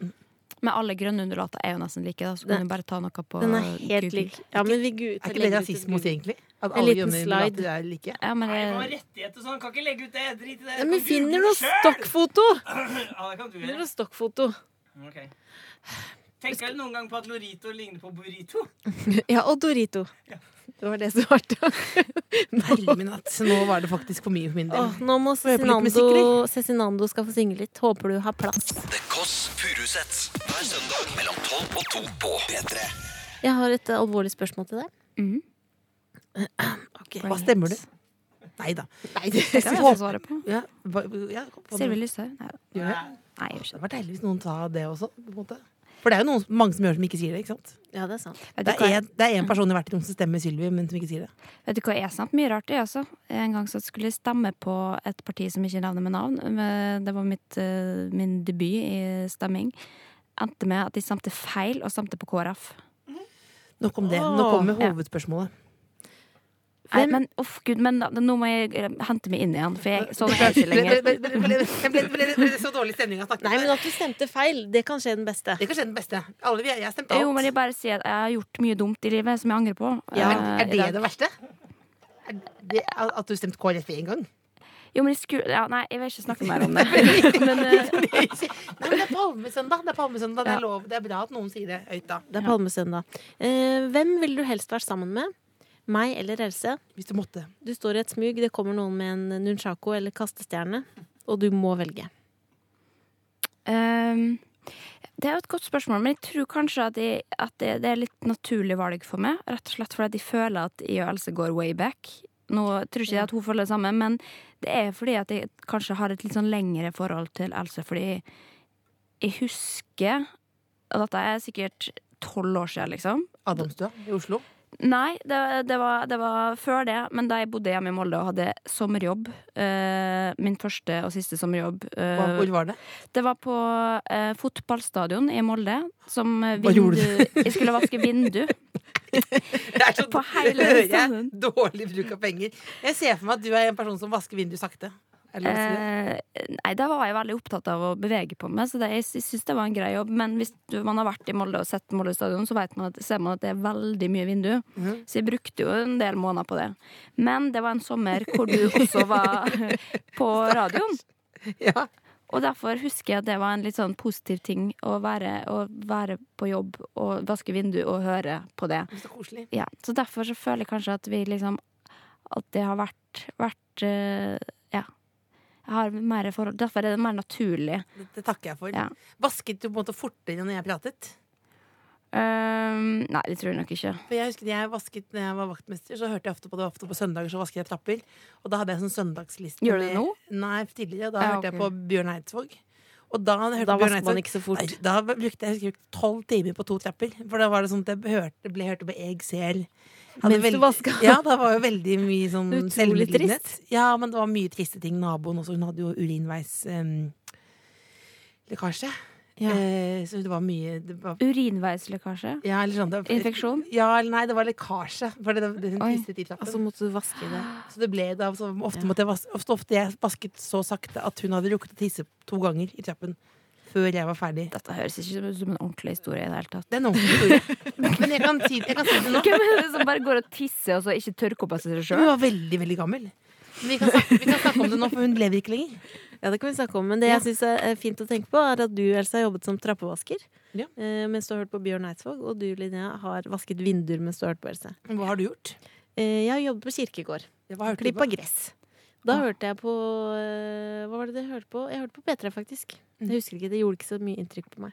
Men alle grønne undulater er jo nesten like, da, så
Den-
kan du bare ta noe på
Den er helt
Google.
lik. Ja, men vi gu-
Er ikke det
legger ut et
rasisme å si,
Google.
egentlig? At
En
alle
liten
grønne
slide.
latter er like?
Ja, men
Nei, det var
det,
rettigheter og sånn. Kan ikke legge ut det. Drit i det.
Ja, men
Kan
finner
google
noe
det selv.
stokkfoto!
Ja, det kan du
Finner
gjøre.
noe stokkfoto.
Ok. Tenker du noen gang på at Lorito ligner på burrito?
Ja, og Dorito. Det var det som var det.
Herre min hatt, nå var det faktisk for mye for min del.
Åh, nå må
høre på litt musikk,
Cezinando Cezinando skal få synge litt. Håper du har plass.
The Kåss Furuseths. Hver søndag mellom 12 og 2 på P3.
Jeg har et eh, alvorlig spørsmål til deg.
Mhm.
Ok.
Hva stemmer du? Nei da.
det altså kan jeg også svare på.
Ja, hva, ja, hva-
Sylvi Lysthaug? Nei, da.
Gjør det?
Nei, jeg
Det
gjør ikke det.
var deilig hvis noen sa det også. På en måte. For det er jo noen, mange som gjør det, som ikke sier det. ikke sant?
Ja, det er sant.
Vet du
Det
hva
er, en- det er en person i hvert rom som stemmer Sylvi, men som ikke sier det.
Vet du hva, jeg snappet mye rart, jeg også. En gang så skulle jeg stemme på et parti som ikke navner med navn. men Det var mitt, eh, min debut i stemming. Endte med at jeg stemte feil, og stemte på KrF.
Nok om det. Nå kommer hovedspørsmålet.
Nei, men uff, gud, men da- nå må jeg eh, hente meg inn igjen, for jeg, sånn er jeg ikke
Ble-
lenger.
ble- ble- ble- ble- ble- ble- ble det så dårlig stemning av å snakke?
Nei, men at du stemte feil, det kan skje den beste.
Det kan skje den beste. Alle vi, jeg stemte
Jo, men
alt.
jeg bare sier at jeg har gjort mye dumt i livet som jeg angrer på.
Ja,
Er
eh, i
det
dag.
det verste? Er det, at du stemte KrF én gang?
Jo, men jeg skulle ja, Nei, jeg vil ikke snakke mer om det. Men eh,
Nei, men det er palmesøndag. Det er palmesøndag, det er lov. Det er bra at noen sier det høyt, da.
Det er palmesøndag. Eh, hvem ville du helst vært sammen med? Meg eller Else?
Hvis du måtte.
Du står i et smug, det kommer noen med en nunchako eller kastestjerne, og du må velge.
Ehm, det er jo et godt spørsmål, men jeg tror kanskje at, jeg, at det, det er litt naturlig valg for meg. Rett og slett fordi at jeg føler at jeg og Else går way back. Nå tror ikke jeg at hun føler det samme, men det er fordi at jeg kanskje har et litt sånn lengre forhold til Else. Fordi jeg husker Og dette er sikkert tolv år siden, liksom.
Adamstua i Oslo.
Nei, det, det, var, det var før det. Men da jeg bodde hjemme i Molde og hadde sommerjobb, eh, min første og siste sommerjobb eh,
Hva, hvor var det?
det var på eh, fotballstadion i Molde. Som eh,
Hva gjorde
vindu Jeg skulle vaske vindu. Eh,
Det er så
På hele
hører jeg
stadion.
Dårlig bruk av penger. Jeg ser for meg at du er en person som vasker vinduet sakte. Er Eller hva sier du?
Eh, nei, da var jeg veldig opptatt av å bevege på meg, så det, jeg sy- syns det var en grei jobb. Men hvis du, man har vært i Molde og sett Molde stadion, så vet man at, ser man at det er veldig mye vindu.
Mhm.
Så jeg brukte jo en del måneder på det. Men det var en sommer hvor du også var på radioen.
Ja.
Og derfor husker jeg at det var en litt sånn positiv ting å være, å være på jobb og vaske vindu og høre på det.
Så koselig.
Ja, så derfor så føler jeg kanskje at vi liksom At det har vært, vært eh, Ja. Jeg har mer forhold Derfor er det mer naturlig.
Det, det takker jeg for.
Ja.
Vasket du på en måte fortere når jeg pratet?
Ehm, nei, det tror jeg nok ikke.
For jeg husker jeg vasket når jeg var vaktmester, så hørte jeg ofte på det ofte på søndager, så vasket jeg trapper. Og da hadde jeg sånn søndagsliste.
Gjør du det
med-
nå?
Nei, tidligere. Da
Ja,
hørte jeg
ok.
på Bjørn Eidsvåg. Og da, hørte
Da
Bjørn
vasker man
Eidsvåg-
ikke så fort.
Nei, da brukte jeg sikkert tolv timer på to trapper. For da var det sånn at jeg hørte, ble hørt på EGCL. Hadde
Mens du
veld-
vasket.
Ja, da var jo veldig mye sånn
Utrolig
selvmedlidenhet. Ja, men det var mye triste ting. Naboen også, hun hadde jo urinveis em, lekkasje.
Ja.
Eh, så det var mye det var,
Urinveislekkasje.
ja, eller sånn, det var-
Infeksjon?
Ja, eller nei, det var lekkasje. For det, det, hun
Oi.
tisset i trappen.
Og så måtte du vaske det.
så det ble da, så ofte, måtte jeg vas ofte, ofte jeg vasket så sakte at hun hadde rukket å tisse to ganger i trappen før jeg var ferdig.
Dette høres ikke ut som en ordentlig historie i det hele tatt.
Det er en ordentlig historie. Men jeg kan si, jeg kan si det nå.
Hvem er det som bare går og tisser og så ikke tørker opp av seg
Hun
sjøl?
var veldig, veldig gammel. Men vi kan, snakke, vi kan snakke om det nå, for hun lever ikke lenger.
Ja, det kan vi snakke om. Men det jeg synes er eh, fint å tenke på, er at du, Elsa, har jobbet som trappevasker.
Ja.
eh, Mens du har hørt på Bjørn Eidsvåg, og du, Linnea, har vasket vinduer mens du har hørt på Else.
Men Hva har du gjort?
Eh, Jeg har jobbet på kirkegård.
Hva hørte du
Klippa
på?
gress. Da hørte jeg på eh, Hva var det jeg hørte på? Jeg hørte på P3, faktisk.
Mm.
Jeg husker ikke, Det gjorde ikke så mye inntrykk på meg.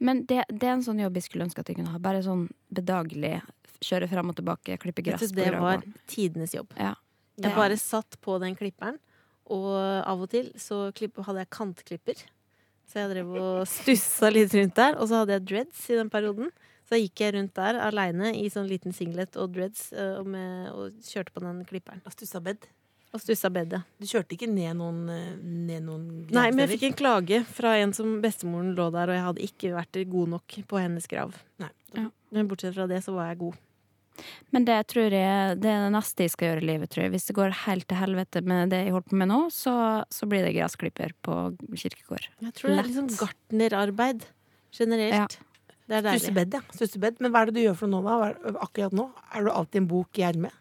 Men det, det er en sånn jobb jeg skulle ønske at jeg kunne ha. Bare sånn bedagelig kjøre fram og tilbake, klippe
Jeg
gress
synes
på
det var
gravgården.
tidenes jobb.
Ja.
Jeg bare satt på den klipperen, og av og til så klipp, hadde jeg kantklipper. Så jeg drev og stussa litt rundt der. Og så hadde jeg dreads i den perioden. Så da gikk jeg rundt der aleine i sånn liten singlet og dreads eh, og, med, og kjørte på den klipperen.
Stussa bed.
Og stussa bedet.
Du kjørte ikke ned noen, eh, ned noen
Nei, men jeg fikk en
gravsteder?
klage fra en som bestemoren lå der, og jeg hadde ikke vært god nok på hennes grav.
Nei.
Men bortsett fra det så var jeg god.
Men det tror jeg Det er det neste jeg skal gjøre i livet, tror jeg. Hvis det går helt til helvete med det jeg holder på med nå, så, så blir det gressklipper på kirkegård.
Jeg tror det er liksom gartnerarbeid generelt. Det er deilig.
Stussebed, ja. Stussebed. Men hva er det du gjør for noe nå, da? Hva er- Akkurat nå? Er du alltid en bok i ermet?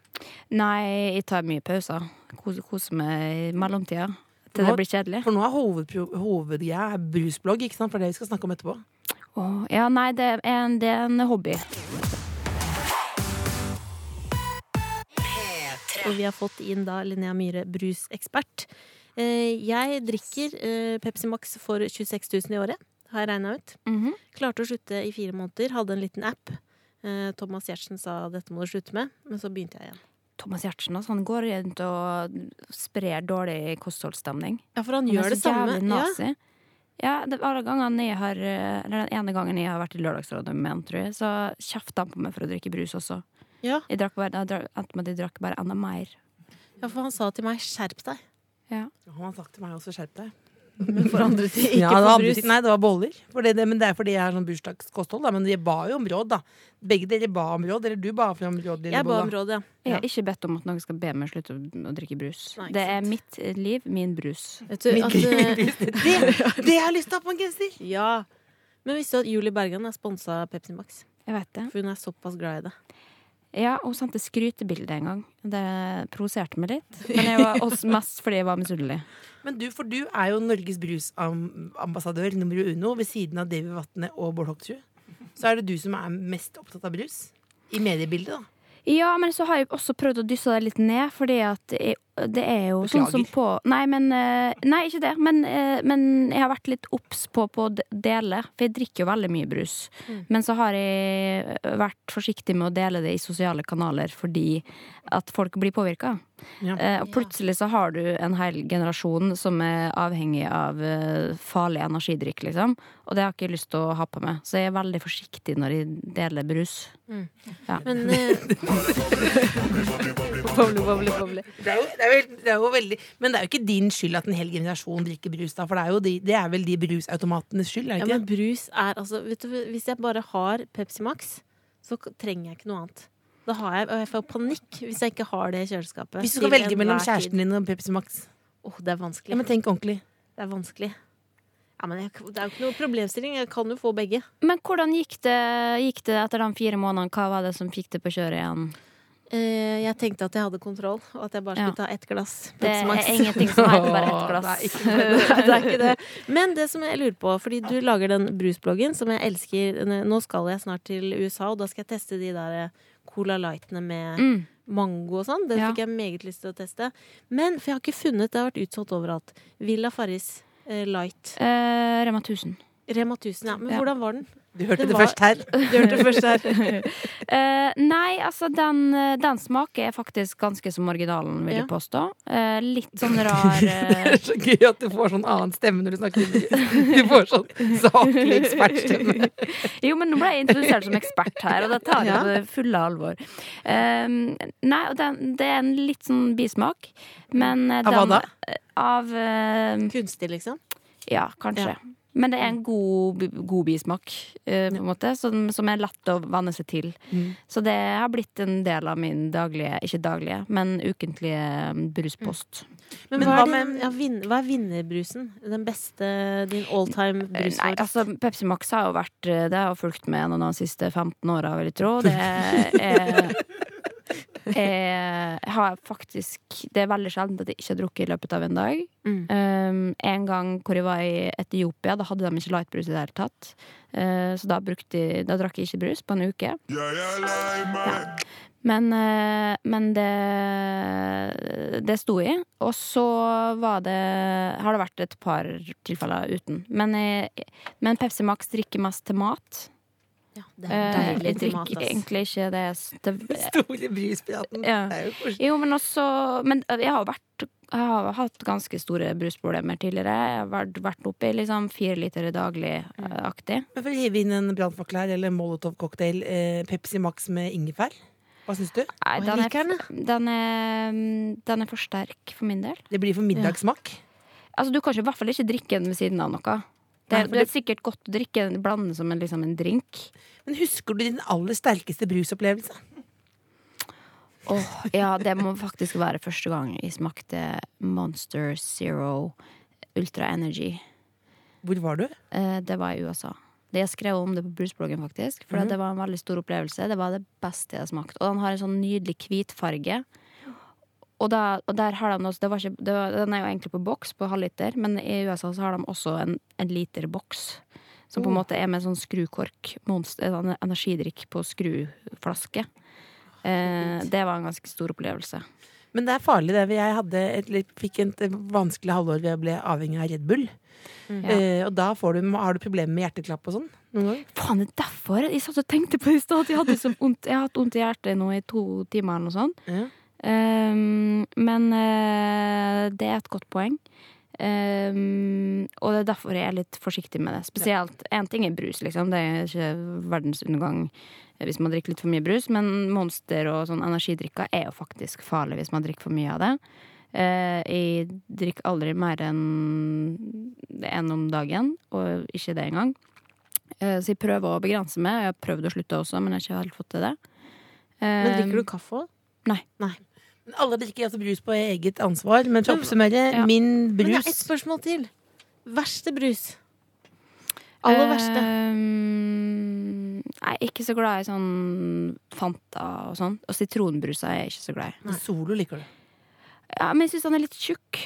Nei, jeg tar mye pauser. Koser, koser meg i mellomtida. Til det blir kjedelig.
For nå er hovedpro- hovedgreia er brusblogg, ikke sant? For det vi skal snakke om etterpå.
Åh, ja, nei, det er, en, det er en hobby.
Og vi har fått inn da Linnea Myhre, brusekspert. Eh, Jeg drikker eh, Pepsi Max for 26 000 i året, har jeg regna ut.
Mhm.
Klarte å slutte i fire måneder, hadde en liten app. Eh, Thomas Giertsen sa dette må du slutte med, men så begynte jeg igjen.
Thomas Giertsen altså, han går rundt og sprer dårlig kostholdsstemning.
Ja, for han,
Han
gjør
er
det
så
samme.
jævlig nazi. Ja, det, alle gangene jeg har eh, Eller den ene gangen jeg har vært i Lørdagsrådet med han, tror jeg, så kjefta han på meg for å drikke brus også.
Ja.
Jeg drakk bare, jeg drakk, endte med at jeg drakk bare enda mer.
Ja, ja, for han sa til meg 'skjerp deg'.
Han har sagt til meg også, skjerp deg.
Men for andre ting, ikke
Ja, det var
for
andre
brus.
ting. Nei, det var boller. For det, det, men det er fordi jeg har sånn bursdagskosthold, da. Men de ba jo om råd, da. Begge dere ba om råd. Eller du ba om råd, lille
Jeg ba
Bolla.
om råd, ja.
Jeg har ikke bedt om at noen skal be meg å slutte å, å drikke brus.
Nei, ikke
det er
sant.
mitt eh, liv, min brus.
Vet du, at, eh,
Det, det har jeg lyst til å ha på en genser!
ja. Men visste du at Julie Bergan er sponsa av Pepsi Max?
Jeg vet det.
For hun er såpass glad i det.
Ja, Hun sendte skrytebilde en gang. Det provoserte meg litt. Men jeg var også mest fordi jeg var misunnelig.
Men du, for du er jo Norges brusambassadør nummer uno ved siden av Davy Vatne og Bård Hoksrud. Så er det du som er mest opptatt av brus. I mediebildet, da.
Ja, men så har jeg også prøvd å dysse det litt ned, fordi at jeg, det er jo
Beklager.
sånn som på Nei, men eh, Nei, ikke det. Men, eh, men jeg har vært litt obs på, på å d- dele, for jeg drikker jo veldig mye brus.
Mm.
Men så har jeg eh, vært forsiktig med å dele det i sosiale kanaler fordi at folk blir påvirka.
Ja.
Eh, og plutselig så har du en hel generasjon som er avhengig av eh, farlig energidrikk, liksom. Og det har jeg ikke lyst til å ha på meg. Så jeg er veldig forsiktig når jeg deler brus.
Men eh, Boble, boble, boble.
Det er, jo, det, er vel, det er jo veldig Men det er jo ikke din skyld at en hel generasjon drikker brus, da. For det er, jo de, det er vel de brusautomatenes skyld, er
Ja,
det ikke?
men brus er altså vet du, Hvis jeg bare har Pepsi Max, så k- trenger jeg ikke noe annet. Da har jeg, og jeg får panikk hvis jeg ikke har det i kjøleskapet.
Hvis du
til
skal velge
enhver
mellom
tid.
kjæresten din og Pepsi Max.
Åh, det er vanskelig.
Ja, men tenk ordentlig.
Det er vanskelig. Ja, men jeg, det er jo ikke noe problemstilling. Jeg kan jo få begge.
Men hvordan gikk det, gikk det etter de fire månedene? Hva var det som fikk det på kjøret igjen?
Eh, jeg tenkte at jeg hadde kontroll, og at jeg bare skulle
Ja.
ta ett glass.
Det
Pepsi Max.
er ingenting som heter bare ett
Åh, det er
glass.
Nei, det er ikke det. Men det som jeg lurer på, fordi du lager den brusbloggen som jeg elsker Nå skal jeg snart til USA, og da skal jeg teste de der eh, Cola Lightene med
Mm.
mango og sånn. Det
Ja.
fikk jeg meget lyst til å teste. Men for jeg har ikke funnet, det har vært utsolgt overalt. Villa Farris eh, Light.
Eh, Rema 1000.
Rema 1000, ja. Men
Ja.
hvordan var den?
Du hørte
Det
det,
var-
først her.
Du hørte først her.
Eh, nei, altså den, den smaker er faktisk ganske som originalen, vil
Ja.
jeg påstå. Eh, litt sånn rar
Det
eh,
er så gøy at du får sånn annen stemme når du snakker indisk. Du får sånn saklig ekspertstemme.
Jo, men nå ble jeg introdusert som ekspert her, og det tar jeg på det fulle alvor. Eh, nei, og den, det er en litt sånn bismak, men eh,
Av hva
den-
da?
Av eh,
Kunstig, liksom.
Ja, kanskje.
Ja.
Men det er en god, god bismak, eh, på en måte, som, som er lett å vanne seg til.
Mm.
Så det har blitt en del av min daglige, ikke daglige, men ukentlige eh, bruspost.
Men,
Men
hva,
hva
er din,
med-
ja, vin, hva er vinnerbrusen? Den beste, din all time
Eh,
brus?
Nei, altså Pepsi Max har jo vært eh, Det har jo fulgt med gjennom de siste 15 åra, vil jeg tro. Det er, eh, er, har faktisk Det er veldig sjelden at jeg ikke har drukket i løpet av en dag.
Mm.
Um, en gang hvor jeg var i Etiopia, da hadde de ikke lightbrus i det hele tatt. Eh, så da, brukte jeg, da drakk jeg ikke brus på en uke. Men, eh, men det, det sto i. Og så var det, har det vært et par tilfeller uten. Men, jeg, men Pepsi Max drikker mest til mat.
Ja, det
Eh,
er deilig
jeg
til mat,
drikker
ass.
egentlig ikke det s- til-
Store bruspiraten.
Ja.
Det er jo koselig.
Jo, men også Men eh, jeg har vært jeg har hatt ganske store brusproblemer tidligere. Jeg har vært, vært oppi liksom fire liter eh,
Mm.
daglig-aktig.
Men for å hive inn en brannfakkel her, eller Molotov-cocktail, eh, Pepsi Max med ingefær. Hva syns du?
Nei,
Å, jeg
den er,
liker den,
den, er, mm, den er for sterk for min del.
Det blir for middagssmak.
Altså, du kan ikke, i hvert fall ikke drikke den ved siden av noe. Det,
Nei,
er-
for
det er sikkert godt å drikke den blande som en, liksom en drink.
Men husker du din aller sterkeste brusopplevelse?
Åh, ja, det må faktisk være første gang jeg smakte Monster Zero Ultra Energy.
Hvor var du?
Eh, det var i USA. Det jeg skrev om det på brusbloggen, faktisk. For det var en veldig stor opplevelse. Det var det beste jeg har smakt. Og den har en sånn nydelig hvitfarge. Og, da, og der har de også, det var ikke, det var, Den er jo egentlig på boks på halvliter, men i USA så har de også en, en literboks. Som på en måte er med sånn skrukork. Monster, en sånn energidrikk på skruflaske. Eh, det var en ganske stor opplevelse.
Men det er farlig, det. Jeg hadde et, litt- fikk et vanskelig halvår hvor jeg ble avhengig av Red Bull. Eh, og da får du, har du problemer med hjerteklapp og sånn. Noen ganger.
Faen, det er derfor jeg satt og tenkte på det i stad. at Jeg, hadde så vondt- jeg har hatt vondt i hjertet nå i to timer eller noe sånt.
Ja.
Ehm, men eh, det er et godt poeng. Ehm, og det er derfor jeg er litt forsiktig med det. Spesielt én ting er brus, liksom. Det er ikke verdensundergang eh, hvis man drikker litt for mye brus. Men monster og sånn energidrikker er jo faktisk farlig hvis man drikker for mye av det. Eh, jeg drikker aldri mer enn én om dagen, og ikke det engang. Eh, så jeg prøver å begrense meg. Jeg har prøvd å slutte også, men jeg har ikke helt fått til det.
Men
eh,
drikker du kaffe òg?
Men Alle drikker altså brus på eget ansvar, men for å oppsummere,
Ja.
min
Men jeg har ett
brus
spørsmål til. Verste brus?
Eh.
Aller verste.
Ehm, Nei, ikke så glad i sånn Fanta og sånn. Og sitronbrus er jeg ikke så glad i.
Solo liker du.
Ja, men jeg syns han er litt tjukk.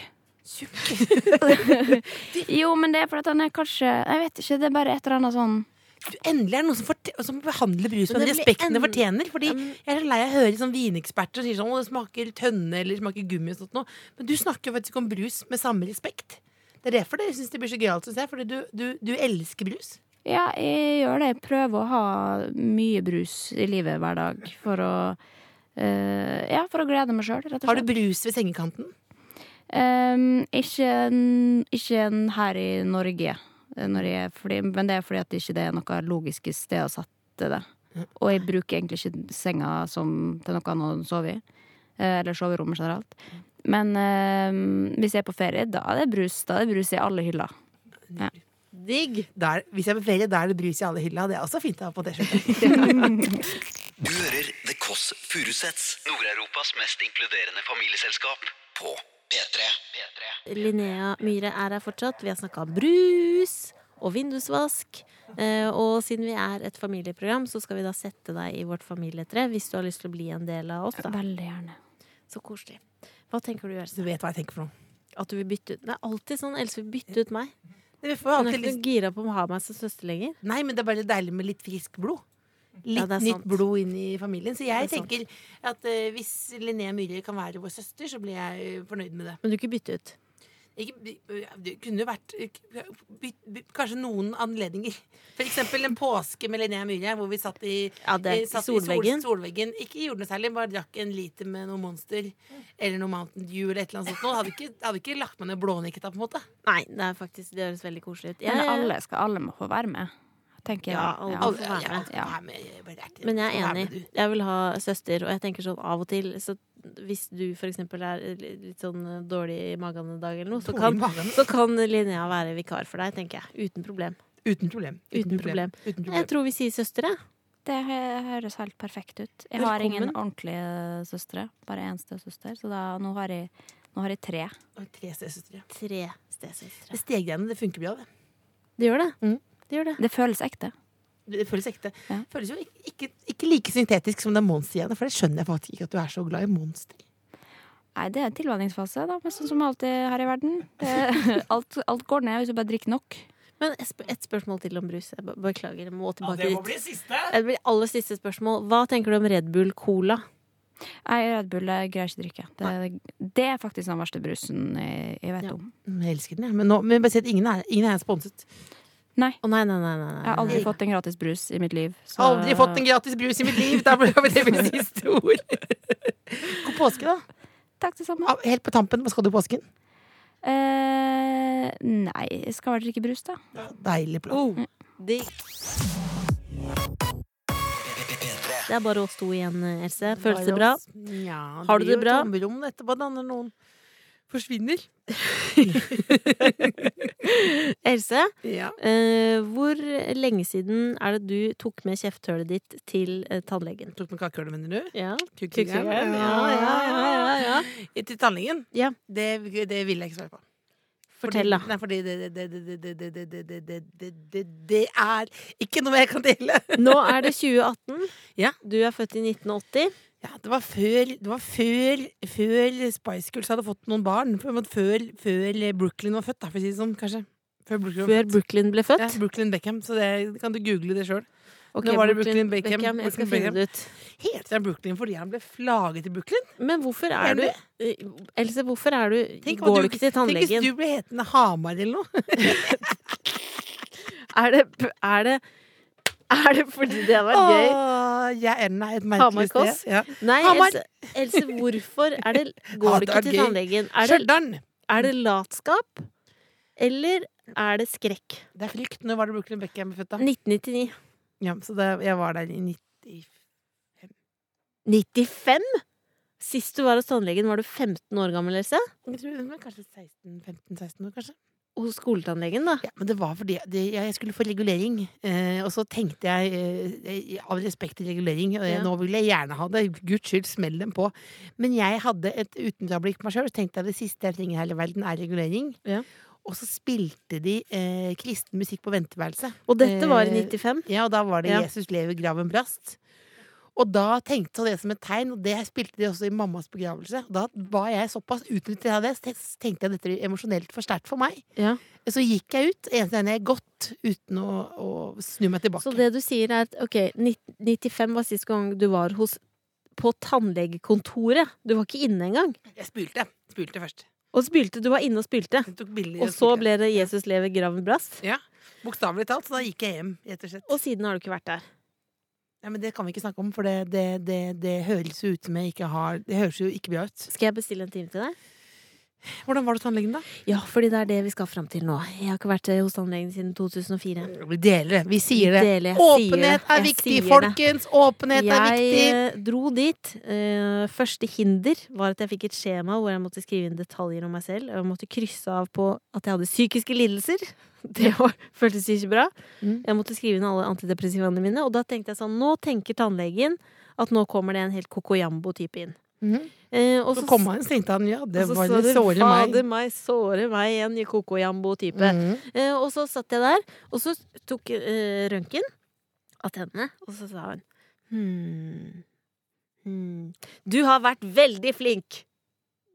jo, men det er fordi at han er kanskje Jeg vet ikke, det er bare et eller annet sånn
Du, Endelig er det noen som, forte- som behandler brus
Men
med den
det blir
respekten det
en-
fortjener. Fordi
Ja, men-
Jeg er så lei av å høre sånn vineksperter som sier sånn, «Å, det smaker tønne eller det smaker gummi. og sånt noe. Men du snakker jo faktisk om brus med samme respekt. Det er derfor dere syns det blir så gøyalt, syns jeg. Fordi du, du, du elsker brus.
Ja, jeg gjør det. Jeg prøver å ha mye brus i livet hver dag for å eh, ja, for å glede meg sjøl, rett og slett.
Har du brus ved sengekanten?
Ehm, ikke, en- ikke en her i Norge, eh, når jeg, er- fordi, men det er fordi at det ikke er noe logiske sted å sette det. Og jeg bruker egentlig ikke senga som, til noe annet å sove i. eh, Eller soverommet generelt. Men ehm, hvis jeg er på ferie, da er det brus. Da er det brus i alle hyller.
Digg.
Der, hvis jeg er på ferie, da er det brus i alle hylla. Det er også fint å ha på T-skjorte.
Du hører The Kåss Furuseths, Nord-Europas mest inkluderende familieselskap, på P3. P3.
Linnea Myhre er her fortsatt. Vi har snakka om brus og vindusvask. Eh, Og siden vi er et familieprogram, så skal vi da sette deg i vårt familietre hvis du har lyst til å bli en del av oss. Da.
Veldig gjerne.
Så koselig. Hva tenker du gjøre?
Du vet hva jeg tenker for noe.
At du vil bytte ut Det er alltid sånn, ellers vil bytte ut meg.
Vi får
Hun er
alltid liksom.
ikke
lyst
noe gira på å ha meg som søster lenger.
Nei, men det er bare deilig med litt friskt blod. Litt
Ja, det er sant.
nytt blod inn i familien. Så jeg
Det er sant.
tenker at eh, hvis Linnea Myhre kan være vår søster, så blir jeg eh, fornøyd med det.
Men du kan ikke bytte ut.
Ikke, by- ja, det kunne jo vært eh, k- by, by, kanskje noen anledninger. For eksempel en påske med Linnea Myhre, hvor vi satt i,
Ja, det-
eh,
i
satt
solveggen.
I sol, solveggen. Ikke gjorde noe særlig, bare drakk en liter med noe Monster eller noe Mountain Dew eller et eller annet sånt. noe. Hadde ikke, hadde ikke lagt meg ned blånikket da, på en måte.
Nei, det er faktisk Det høres veldig koselig ut. Jeg-
Men alle, skal alle må få være med, tenker jeg.
Ja, alle må få være med.
Ja.
Nei, men jeg bare er-
Men jeg
Vær
er
med,
enig.
du.
Jeg vil ha søster, og jeg tenker sånn av og til så Hvis du for eksempel er litt sånn eh, dårlig i magen en dag eller noe, så
Dårlig
kan,
i magen?
så kan Linnea være vikar for deg, tenker jeg. Uten problem.
Uten problem.
Uten problem.
Uten problem.
Jeg tror vi sier søstre.
Det hø- høres helt perfekt ut. Jeg har
Velkommen.
ingen ordentlige søstre, bare én stesøster, så da, nå, har jeg, nå har jeg tre.
Og tre stesøstre.
Tre
Det
stesøstre.
Stegreiene det funker bra. Det
Det gjør det.
Mm.
Det gjør det.
Det føles ekte.
Det føles ekte.
Ja.
Føles jo ikke, ikke, ikke like syntetisk som det monstergreiene, for det skjønner jeg faktisk ikke at du er så glad i monster.
Nei, det er en tilvenningsfase, da, men sånn som alltid her i verden. Det, alt, alt går ned hvis du bare drikker nok.
Men et, sp et spørsmål til om brus. Jeg be- beklager, jeg må
Ja,
tilbake
det må
dit.
bli siste.
Det blir aller siste spørsmål. Hva tenker du om Red Bull Cola?
Nei, Red Bull jeg greier ikke drikke. Det, det er faktisk den verste brusen jeg, jeg vet
Ja.
om.
Jeg elsker den, jeg. Men, nå, men bare si at ingen er, ingen er sponset.
Nei.
Å nei, nei, nei. nei, nei.
Jeg har aldri fått en gratis brus i mitt liv. så-
Aldri fått en gratis brus i mitt liv! Da ble det mitt siste ord. God påske, da.
Takk, det samme.
Ah, Helt på tampen, hva skal du i påsken?
Eh, nei, jeg skal vel drikke brus, da.
Deilig plan.
Oh, digg. Det er bare oss to igjen, Else. Føles det bra?
Ja,
Har du
blir
det
jo
bra?
et Tomrom etterpå da, når noen forsvinner.
Else,
Ja.
eh, hvor lenge siden er det du tok med kjefthølet ditt til eh, tannlegen?
Tok med kakehullet, mener du?
Ja.
Kukkingen?
Ja, ja, ja, ja, ja.
Til tannlegen?
Ja.
Det, det vil jeg ikke svare på.
Fortell, da.
Nei, fordi det, det, det, det, det, det, det, det, det, det, det, det er ikke noe jeg kan dele.
Nå er det 2018.
Ja.
Du er født i 1980.
Ja, det var før, det var før, før Spice Girls hadde fått noen barn. På en måte Før, før Brooklyn var født, da, for å si det sånn, kanskje. Før Brooklyn, var
Før Brooklyn ble
født.
født.
Ja, Brooklyn Beckham, så det kan du google det sjøl.
Ok,
nå var det Brooklyn Beckham,
Jeg skal
Brooklyn
finne det ut.
Heter han Brooklyn fordi han ble flagget i Brooklyn?
Men hvorfor
Er
er du eh, Else, hvorfor er du
Tenk hva
Går du ikke til
Tenk hvis
tannlegen?
du ble hetende Hamar eller noe.
Er det, er det Er det fordi det hadde vært gøy?
Åh, jeg er nei, et merkelig
Hamar-Kåss.
sted. Ja.
Nei,
Hamar.
Else, Else, hvorfor er det, går
Ja,
du
det
ikke
er
til
gøy.
tannlegen? Er det,
Stjørdal!
er det latskap, eller er det skrekk?
Det er frykt. Når var det Brooklyn Beckham ble
Mm.
født, da?
1999.
Ja, så det, jeg var der i 90...
95? Sist du var hos tannlegen, var du 15 år gammel, Else?
Jeg tror det var kanskje 16-15-16 år, kanskje.
Hos skoletannlegen, da.
Ja, men det var fordi det, jeg skulle få regulering. Eh, og så tenkte jeg, eh, jeg- av respekt til regulering, og jeg,
Ja.
nå vil jeg gjerne ha det. Guds skyld, smell dem på. Men jeg hadde et utenfrablikk på meg sjøl, og så tenkte jeg det siste jeg trenger i hele verden, er regulering.
Ja.
Og så spilte de eh, kristen musikk på venteværelset.
Og dette var i
Eh,
95.
Ja, og da var det
Ja.
'Jesus lever, graven brast'. Og da tenkte jeg det som et tegn, og det spilte de også i mammas begravelse. Og da var jeg såpass utnyttet av det, så te- tenkte jeg dette er emosjonelt for sterkt for meg.
Ja.
Så gikk jeg ut, eneste gang jeg gått, uten å, å snu meg tilbake.
Så det du sier, er at ok, nitt- 95 var sist gang du var hos på tannlegekontoret. Du var ikke inne engang.
Jeg spylte. Spylte først.
Og spilte, du var inne og spilte.
Jeg tok bilder.
Og så ble det 'Jesus lever, graven brast'.
Ja, Bokstavelig talt, så da gikk jeg hjem, rett og slett.
Og siden har du ikke vært der.
Nei, men det kan vi ikke snakke om, for det, det, det, det høres jo ut som jeg ikke har Det høres jo ikke bra ut.
Skal jeg bestille en time til deg?
Hvordan var det hos tannlegen, da?
Ja, fordi det er det vi skal fram til nå. Jeg har ikke vært eh, hos tannlegen siden 2004.
Vi deler det. Vi sier det.
Deler, jeg sier
Åpenhet
det.
er
Jeg
viktig,
sier det.
folkens! Åpenhet er
jeg
viktig!
eh, dro dit. Eh, første hinder var at jeg fikk et skjema hvor jeg måtte skrive inn detaljer om meg selv. Og jeg måtte krysse av på at jeg hadde psykiske lidelser. Det var, føltes ikke bra.
Mm.
Jeg måtte skrive inn alle antidepressivaene mine. Og da tenkte jeg sånn, nå tenker tannlegen at nå kommer det en helt kokoyambo-type inn. Eh, og
Mhm. Så kom han og tenkte han ja, det
og så
var
så
litt
du,
såre meg.
Fader meg, såre meg, en Yokoko-jambo-type.
Mhm.
Eh, og så satt jeg der, og så tok eh, røntgen av tennene, og så sa hun hmm, hmm. Du har vært veldig flink!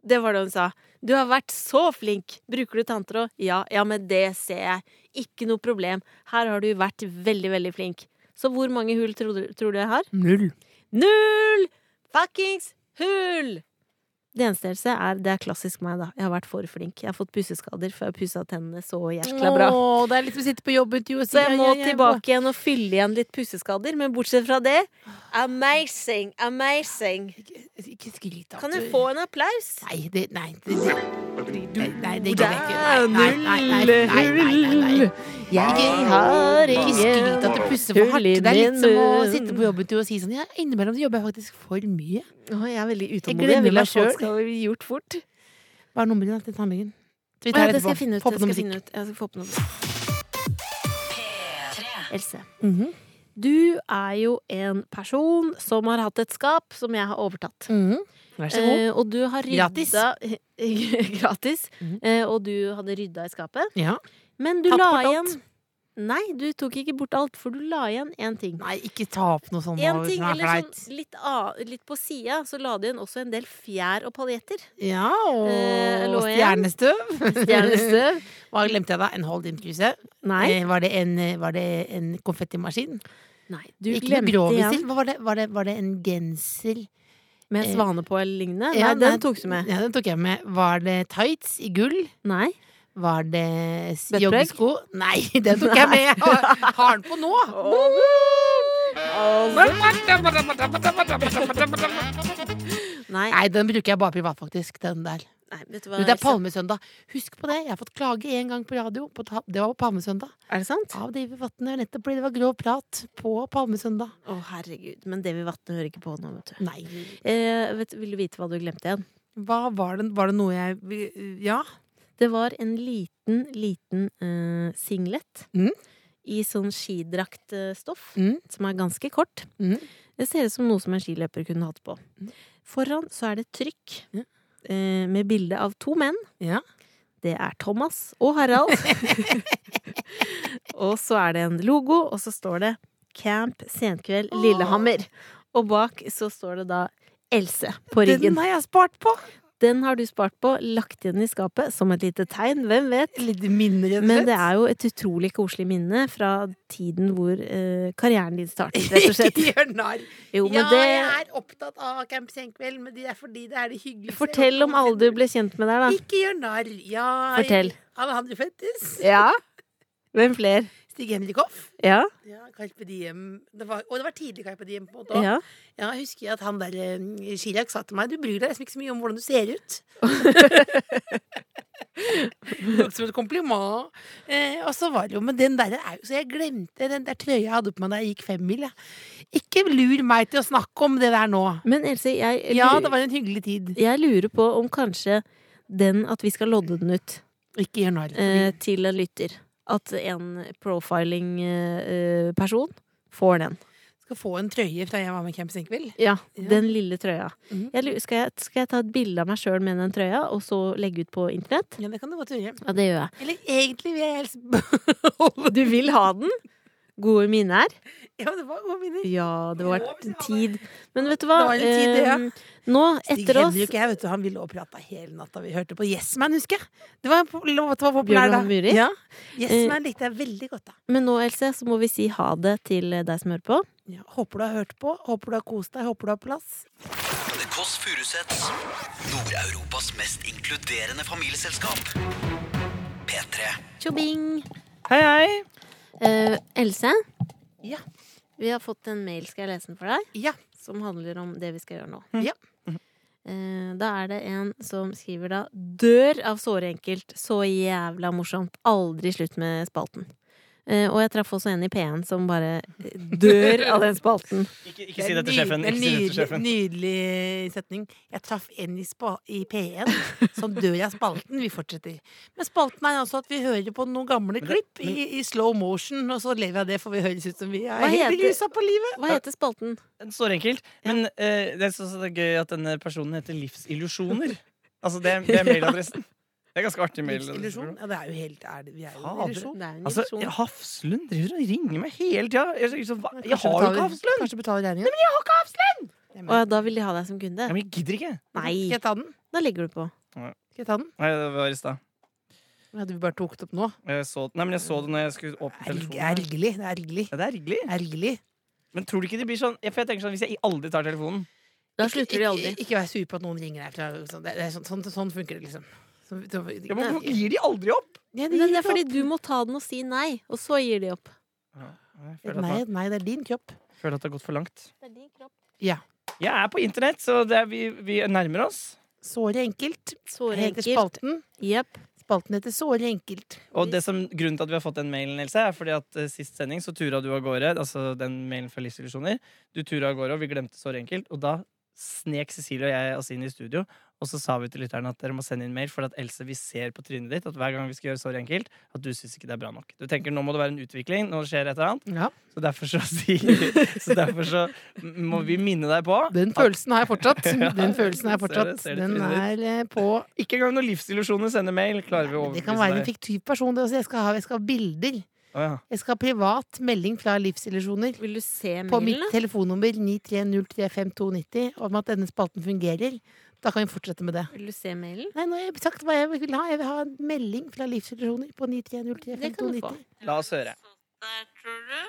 Det var det hun sa. Du har vært så flink! Bruker du tanntråd? Ja, ja, men det ser jeg. Ikke noe problem. Her har du vært veldig, veldig flink. Så hvor mange hull tror du, tror du jeg har?
Null.
Null! Fuckings hull! Det eneste jeg ser, er Det er klassisk meg, da. Jeg har vært for flink. Jeg har fått pusseskader før jeg pussa tennene så jækla bra.
Åh, det er litt som å sitte på jobb ute, jo. og si,
Så jeg
ja,
må
ja, ja, bra.
tilbake igjen og fylle igjen litt pusseskader. Men bortsett fra det amazing, amazing.
Ikke skryt av
Kan
at
jeg
du-
få en applaus?
Nei, det, nei, det, det, nei, nei, det gidder jeg ikke.
Ja,
Nei, nei, nei, nei, nei, nei, nei, nei. Ikke-
har
Ikke skryt at du pusser for hardt. Det er litt som å sitte på jobben og si sånn Ja, innimellom så jobber jeg faktisk for mye.
Jeg er veldig
Jeg
utålmodig.
glemmer
Jeg vil
meg
at folk
selv.
skal bli gjort fort.
Hva er nummeret ditt til tannlegen? Så vi
Å,
tar
ja, det skal jeg
etterpå.
finne ut.
Få
Det
på
skal
noe
jeg
musikk.
finne ut. Jeg skal få på noe musikk. Else.
Mhm.
Du er jo en person som har hatt et skap som jeg har overtatt.
Mhm. Vær så god.
Eh, og du har rydda
Gratis.
Gratis.
Mhm.
Eh, og du hadde rydda i skapet.
Ja.
Men du
Tatt
la
bort alt.
igjen Nei, du tok ikke bort alt, for du la igjen én ting.
Nei, ikke ta opp noe sånt.
En
nå,
ting,
som er
eller
flaut.
sånn litt, a, litt på sida, så la du igjen også en del fjær og paljetter.
Ja, og
Eh, lå igjen.
stjernestøv.
Stjernestøv.
Hva glemte jeg da? En hold in-kruse?
Nei.
Var det en, eh, var det en konfettimaskin?
Nei du
ikke noe
glemte
groviser?
igjen
Hva Var, det, var, det, var det en genser?
med
eh,
svane på eller lignende.
Ja,
nei, den tok du med.
Ja, den tok jeg med. Var det tights i gull?
Nei.
Var det s-
Buttplug?
joggesko? Nei, den tok jeg med! Har har den på nå!
Nei.
Nei, den bruker jeg bare privat, faktisk. Den der.
nei vet du
Du,
hva,
det er
Else?
Palmesøndag. Husk på det, jeg har fått klage én gang på radio. På ta det var på Palmesøndag.
Er det sant?
Av David Vatne og Anette, fordi det var grov prat på Palmesøndag.
Å, herregud. Men det vi vatner hører ikke på nå, vet du.
Nei.
Eh, vet, vil du vite hva du glemte igjen?
Hva var det, var det noe jeg Ja?
Det var en liten, liten eh, singlet
Mm.
i sånn skidraktstoff,
Mm.
som er ganske kort.
Mm.
Det ser ut som noe som en skiløper kunne hatt på. Foran så er det et trykk
Ja.
eh, med bilde av to menn.
Ja.
Det er Thomas og Harald. og så er det en logo, og så står det Camp Senkveld Lillehammer. Og bak så står det da Else på ryggen.
Den har jeg spart på!
Den har du spart på, lagt igjen i skapet som et lite tegn, hvem vet?
Litt minner, rett og
Men
slett.
det er jo et utrolig koselig minne fra tiden hvor eh, karrieren din startet, rett og slett.
Ikke gjør narr.
Jo, men
ja, jeg
det
er opptatt av Camp Senkveld, men det er fordi det er det hyggeligste.
Fortell om alle du ble kjent med der, da.
Ikke gjør narr. Ja,
Fortell.
Alejandro Fettes.
Ja? Hvem fler?
Stig Henrikhoff.
Ja?
Ja, Carpe Diem. Det var, og det var tidlig Carpe Diem. på en måte også.
ja.
Ja, jeg husker at han der eh, Chirag sa til meg Du bryr deg liksom ikke så mye om hvordan du ser ut. Tok som et kompliment. Eh, og så var det jo Men den der er jo Så jeg glemte den der trøya jeg hadde på meg da jeg gikk femmil. jeg. Ikke lur meg til å snakke om det der nå.
Men Else, jeg,
Ja,
lu-
det var en hyggelig tid.
jeg lurer på om kanskje den at vi skal lodde den ut
Ikke gjør narr.
eh, til en lytter. At en profiling-person får den.
Skal få en trøye fra jeg var med i Camp Sinkvill.
Ja,
Ja.
den lille trøya.
Mhm.
Jeg lurer- skal, jeg, skal jeg ta et bilde av meg sjøl med den trøya, og så legge ut på internett?
Ja, det kan du godt gjøre.
Ja, det gjør jeg.
Eller egentlig vil jeg helst holde
Du vil ha den? Gode minner?
Ja, det var gode minner.
Ja, det var en tid. Men vet du
Det
hva?
var en tid, det, ja.
Ehm, Nå, etter oss
Henrik, jeg, vet du, han ville også prate hele natta. Vi hørte på Yes Man, husker jeg. Det var en po- låt som var populær
Bjørn
da.
og Muri?
Ja. Yes
Eh.
Man likte jeg veldig godt, da.
Men nå, Else, så må vi si ha det til deg som hører på.
Ja, håper du har hørt på. Håper du har kost deg. Håper du har plass.
The Kåss Furuseths. Nord-Europas mest inkluderende familieselskap. P3.
Tjobing!
Hei, hei.
Eh, Else,
Ja.
vi har fått en mail, skal jeg lese den for deg?
Ja.
Som handler om det vi skal gjøre nå.
Hm.
Ja.
Eh, Da er det en som skriver da 'Dør av såre enkelt'. Så jævla morsomt. Aldri slutt med spalten. Eh, og jeg traff også en i P1 som bare eh, dør av den spalten.
Ikke, ikke si det til sjefen.
Det er en
Ikke si det
nydelig,
til sjefen.
nydelig setning. Jeg traff en i, spa, i P1 som dør av spalten. Vi fortsetter. Men spalten er altså at vi hører på noen gamle
det-
klipp i, i slow motion, og så lever jeg av det, for vi høres ut som vi er
Hva
helt
heter-
rusa på livet.
Hva heter spalten?
Det står enkelt. Men eh, det, er så, så det er gøy at denne personen heter Livsillusjoner. Altså, det, er- det er mailadressen. Det er ganske artig mailadresse.
Illusjon? Ja, det er jo helt er det, Vi er jo
Fader.
en illusjon.
Det er en
Altså,
illusjon.
Hafslund driver og ringer meg hele tida. Jeg, jeg, så, hva-
Kanskje
jeg har jo
betaler-
ikke Hafslund!
Kanskje betaler regninga.
Og ja, da vil de ha deg som kunde?
Ja, men jeg gidder ikke.
Nei!
Skal jeg ta den?
Da legger du på.
Skal jeg ta den?
Nei, det var i stad.
Ja, du bare tok det opp nå.
Jeg så, nei, men jeg så det når jeg skulle åpne
Erg-
telefonen. her.
Ergerlig. Det er ergerlig.
Ja, det er hyggelig.
Ergerlig.
Men tror du ikke det blir sånn? ja, For jeg tenker sånn, Hvis jeg aldri tar telefonen
Da slutter de aldri.
Ikke, ikke vær sur på at noen ringer deg. for det er- Det er sånn, sånn, sånn funker det, liksom. Så, så,
ja, men Hvorfor gir de aldri opp?
Ja, de
Men det
gir
er fordi du må ta den og si nei, og så gir de opp.
Jeg
opp.
føler at,
Nei, nei, det er din kropp.
jeg føler at det har gått for langt.
Ja.
Jeg er på internett, så det er, vi, vi nærmer oss.
Såre enkelt.
Såre
heter
enkelt.
spalten.
Jepp.
Spalten heter Såre enkelt.
Og det som, grunnen til at vi har fått den mailen, Else, er fordi at eh, sist sending så tura du av gårde. Altså den mailen fra Livsillusjoner. Du tura av gårde, og vi glemte såre enkelt. Og da snek Cecilie og jeg oss inn i studio, og så sa vi til lytterne at dere må sende inn mail, for at Else, vi ser på trynet ditt at hver gang vi skal gjøre såre enkelt, at du syns ikke det er bra nok. Du tenker nå må det være en utvikling, nå skjer et eller annet.
Ja,
Så derfor så sier Så derfor så m- må vi minne deg på
Den følelsen har jeg fortsatt. Den følelsen har jeg
ser det-
fortsatt.
ser det
Den
trynet
er eh, på
Ikke engang når livsillusjoner sender mail, klarer vi å
Det kan være
overbevise
en
deg.
fiktiv person. Det også. Jeg skal ha, jeg skal ha bilder.
Å, ja.
Jeg skal ha privat melding fra Livsillusjoner.
Vil du se
på mitt
mailen, da?
telefonnummer 93035290 om at denne spalten fungerer. Da kan vi fortsette med det.
Vil du se mailen?
Nei, nå har jeg sagt hva jeg vil ha. Jeg vil ha en melding fra livssituasjoner på
Det kan du få.
93035290.
La oss høre.
tror du?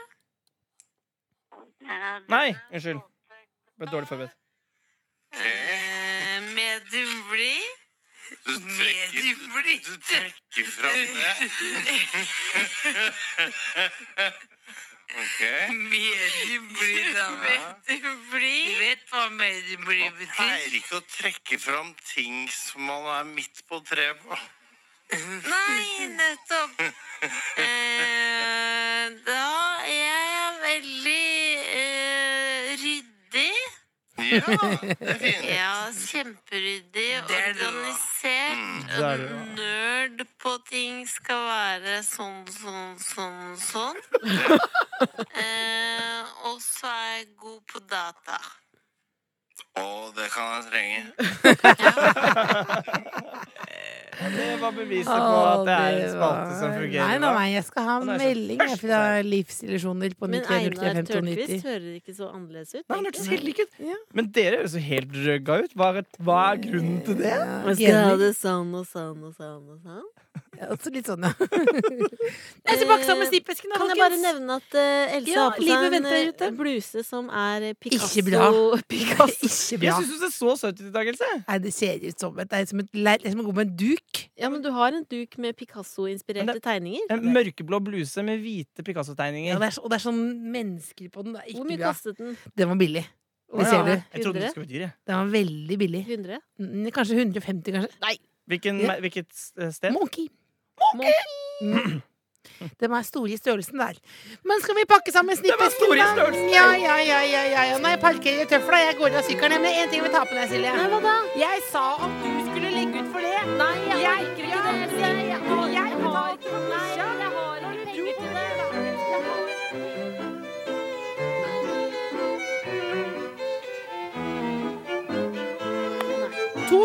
Nei, unnskyld. Ble dårlig forberedt.
Med du blir
Du trekker, du trekker fra det. Ok.
Medubli Du vet hva medubli
Man pleier ikke å trekke fram ting som man er midt på treet på.
Nei, nettopp. Eh, da jeg er veldig eh, ryddig.
Ja, det er fint.
Ja, kjemperyddig, organisert.
Det er det, ja.
Nerd på ting skal være sånn, sånn, sånn, sånn. Eh, og så er jeg god på data.
Å, det kan jeg trenge.
Det var beviset på at det er en spalte som
Nei,
fungerer.
nei,
da.
nei, jeg skal ha
Og det er så
melding jeg, fra
først-
livsillusjoner på
Men Einar Tørnquist
93035290.
hører ikke så annerledes ut.
Nei, han hørtes helt lik ut.
Ja.
Men dere høres jo helt røgga ut. Hva er, hva er grunnen til det?
Ja,
Man skal ha det sånn og sånn og sånn og sånn.
ja, også litt sånn, ja. Jeg er tilbake sammen med snippesken,
Kan jeg bare nevne at eh, Else
Ja,
har på
livet
seg en
venter
eh, bluse som er eh, Picasso
Ikke bra.
Picasso.
Ikke bra.
Jeg syns du ser så søt ut i dag, Else.
Nei, det ser ut som et Det er som et leir, det er som å gå med en duk.
Ja, men du har en duk med
Men
Picasso-inspirerte
det-
tegninger.
En mørkeblå bluse med hvite
Ja,
Picasso-tegninger.
det er, så- og det er sånn mennesker på den. Det er
Hvor
ikke
mye
bra.
kostet den?
Den var billig.
Å,
Det
ja.
ser du.
Jeg trodde det skulle være dyr, jeg.
Den var veldig billig.
100?
Mm, Kanskje 150, kanskje.
Hvilken,
Ja.
Hvilket eh, sted?
Monkey! Mm. De er store i størrelsen der. Men skal vi pakke sammen snippet?
De er store i størrelsen.
Ja, ja, ja, ja, ja, ja. Når jeg parkerer tøfla, jeg går av sykkelen. Men det er én ting vi tar på deg, Silje.
Nei, hva da?
Jeg sa om du skulle legge ut for det.
Nei, jeg
Jeg-
orker ikke det.
Ja,
Else. Jeg, jeg, har-
jeg
jeg
har
har ikke Nei, jeg har ikke penger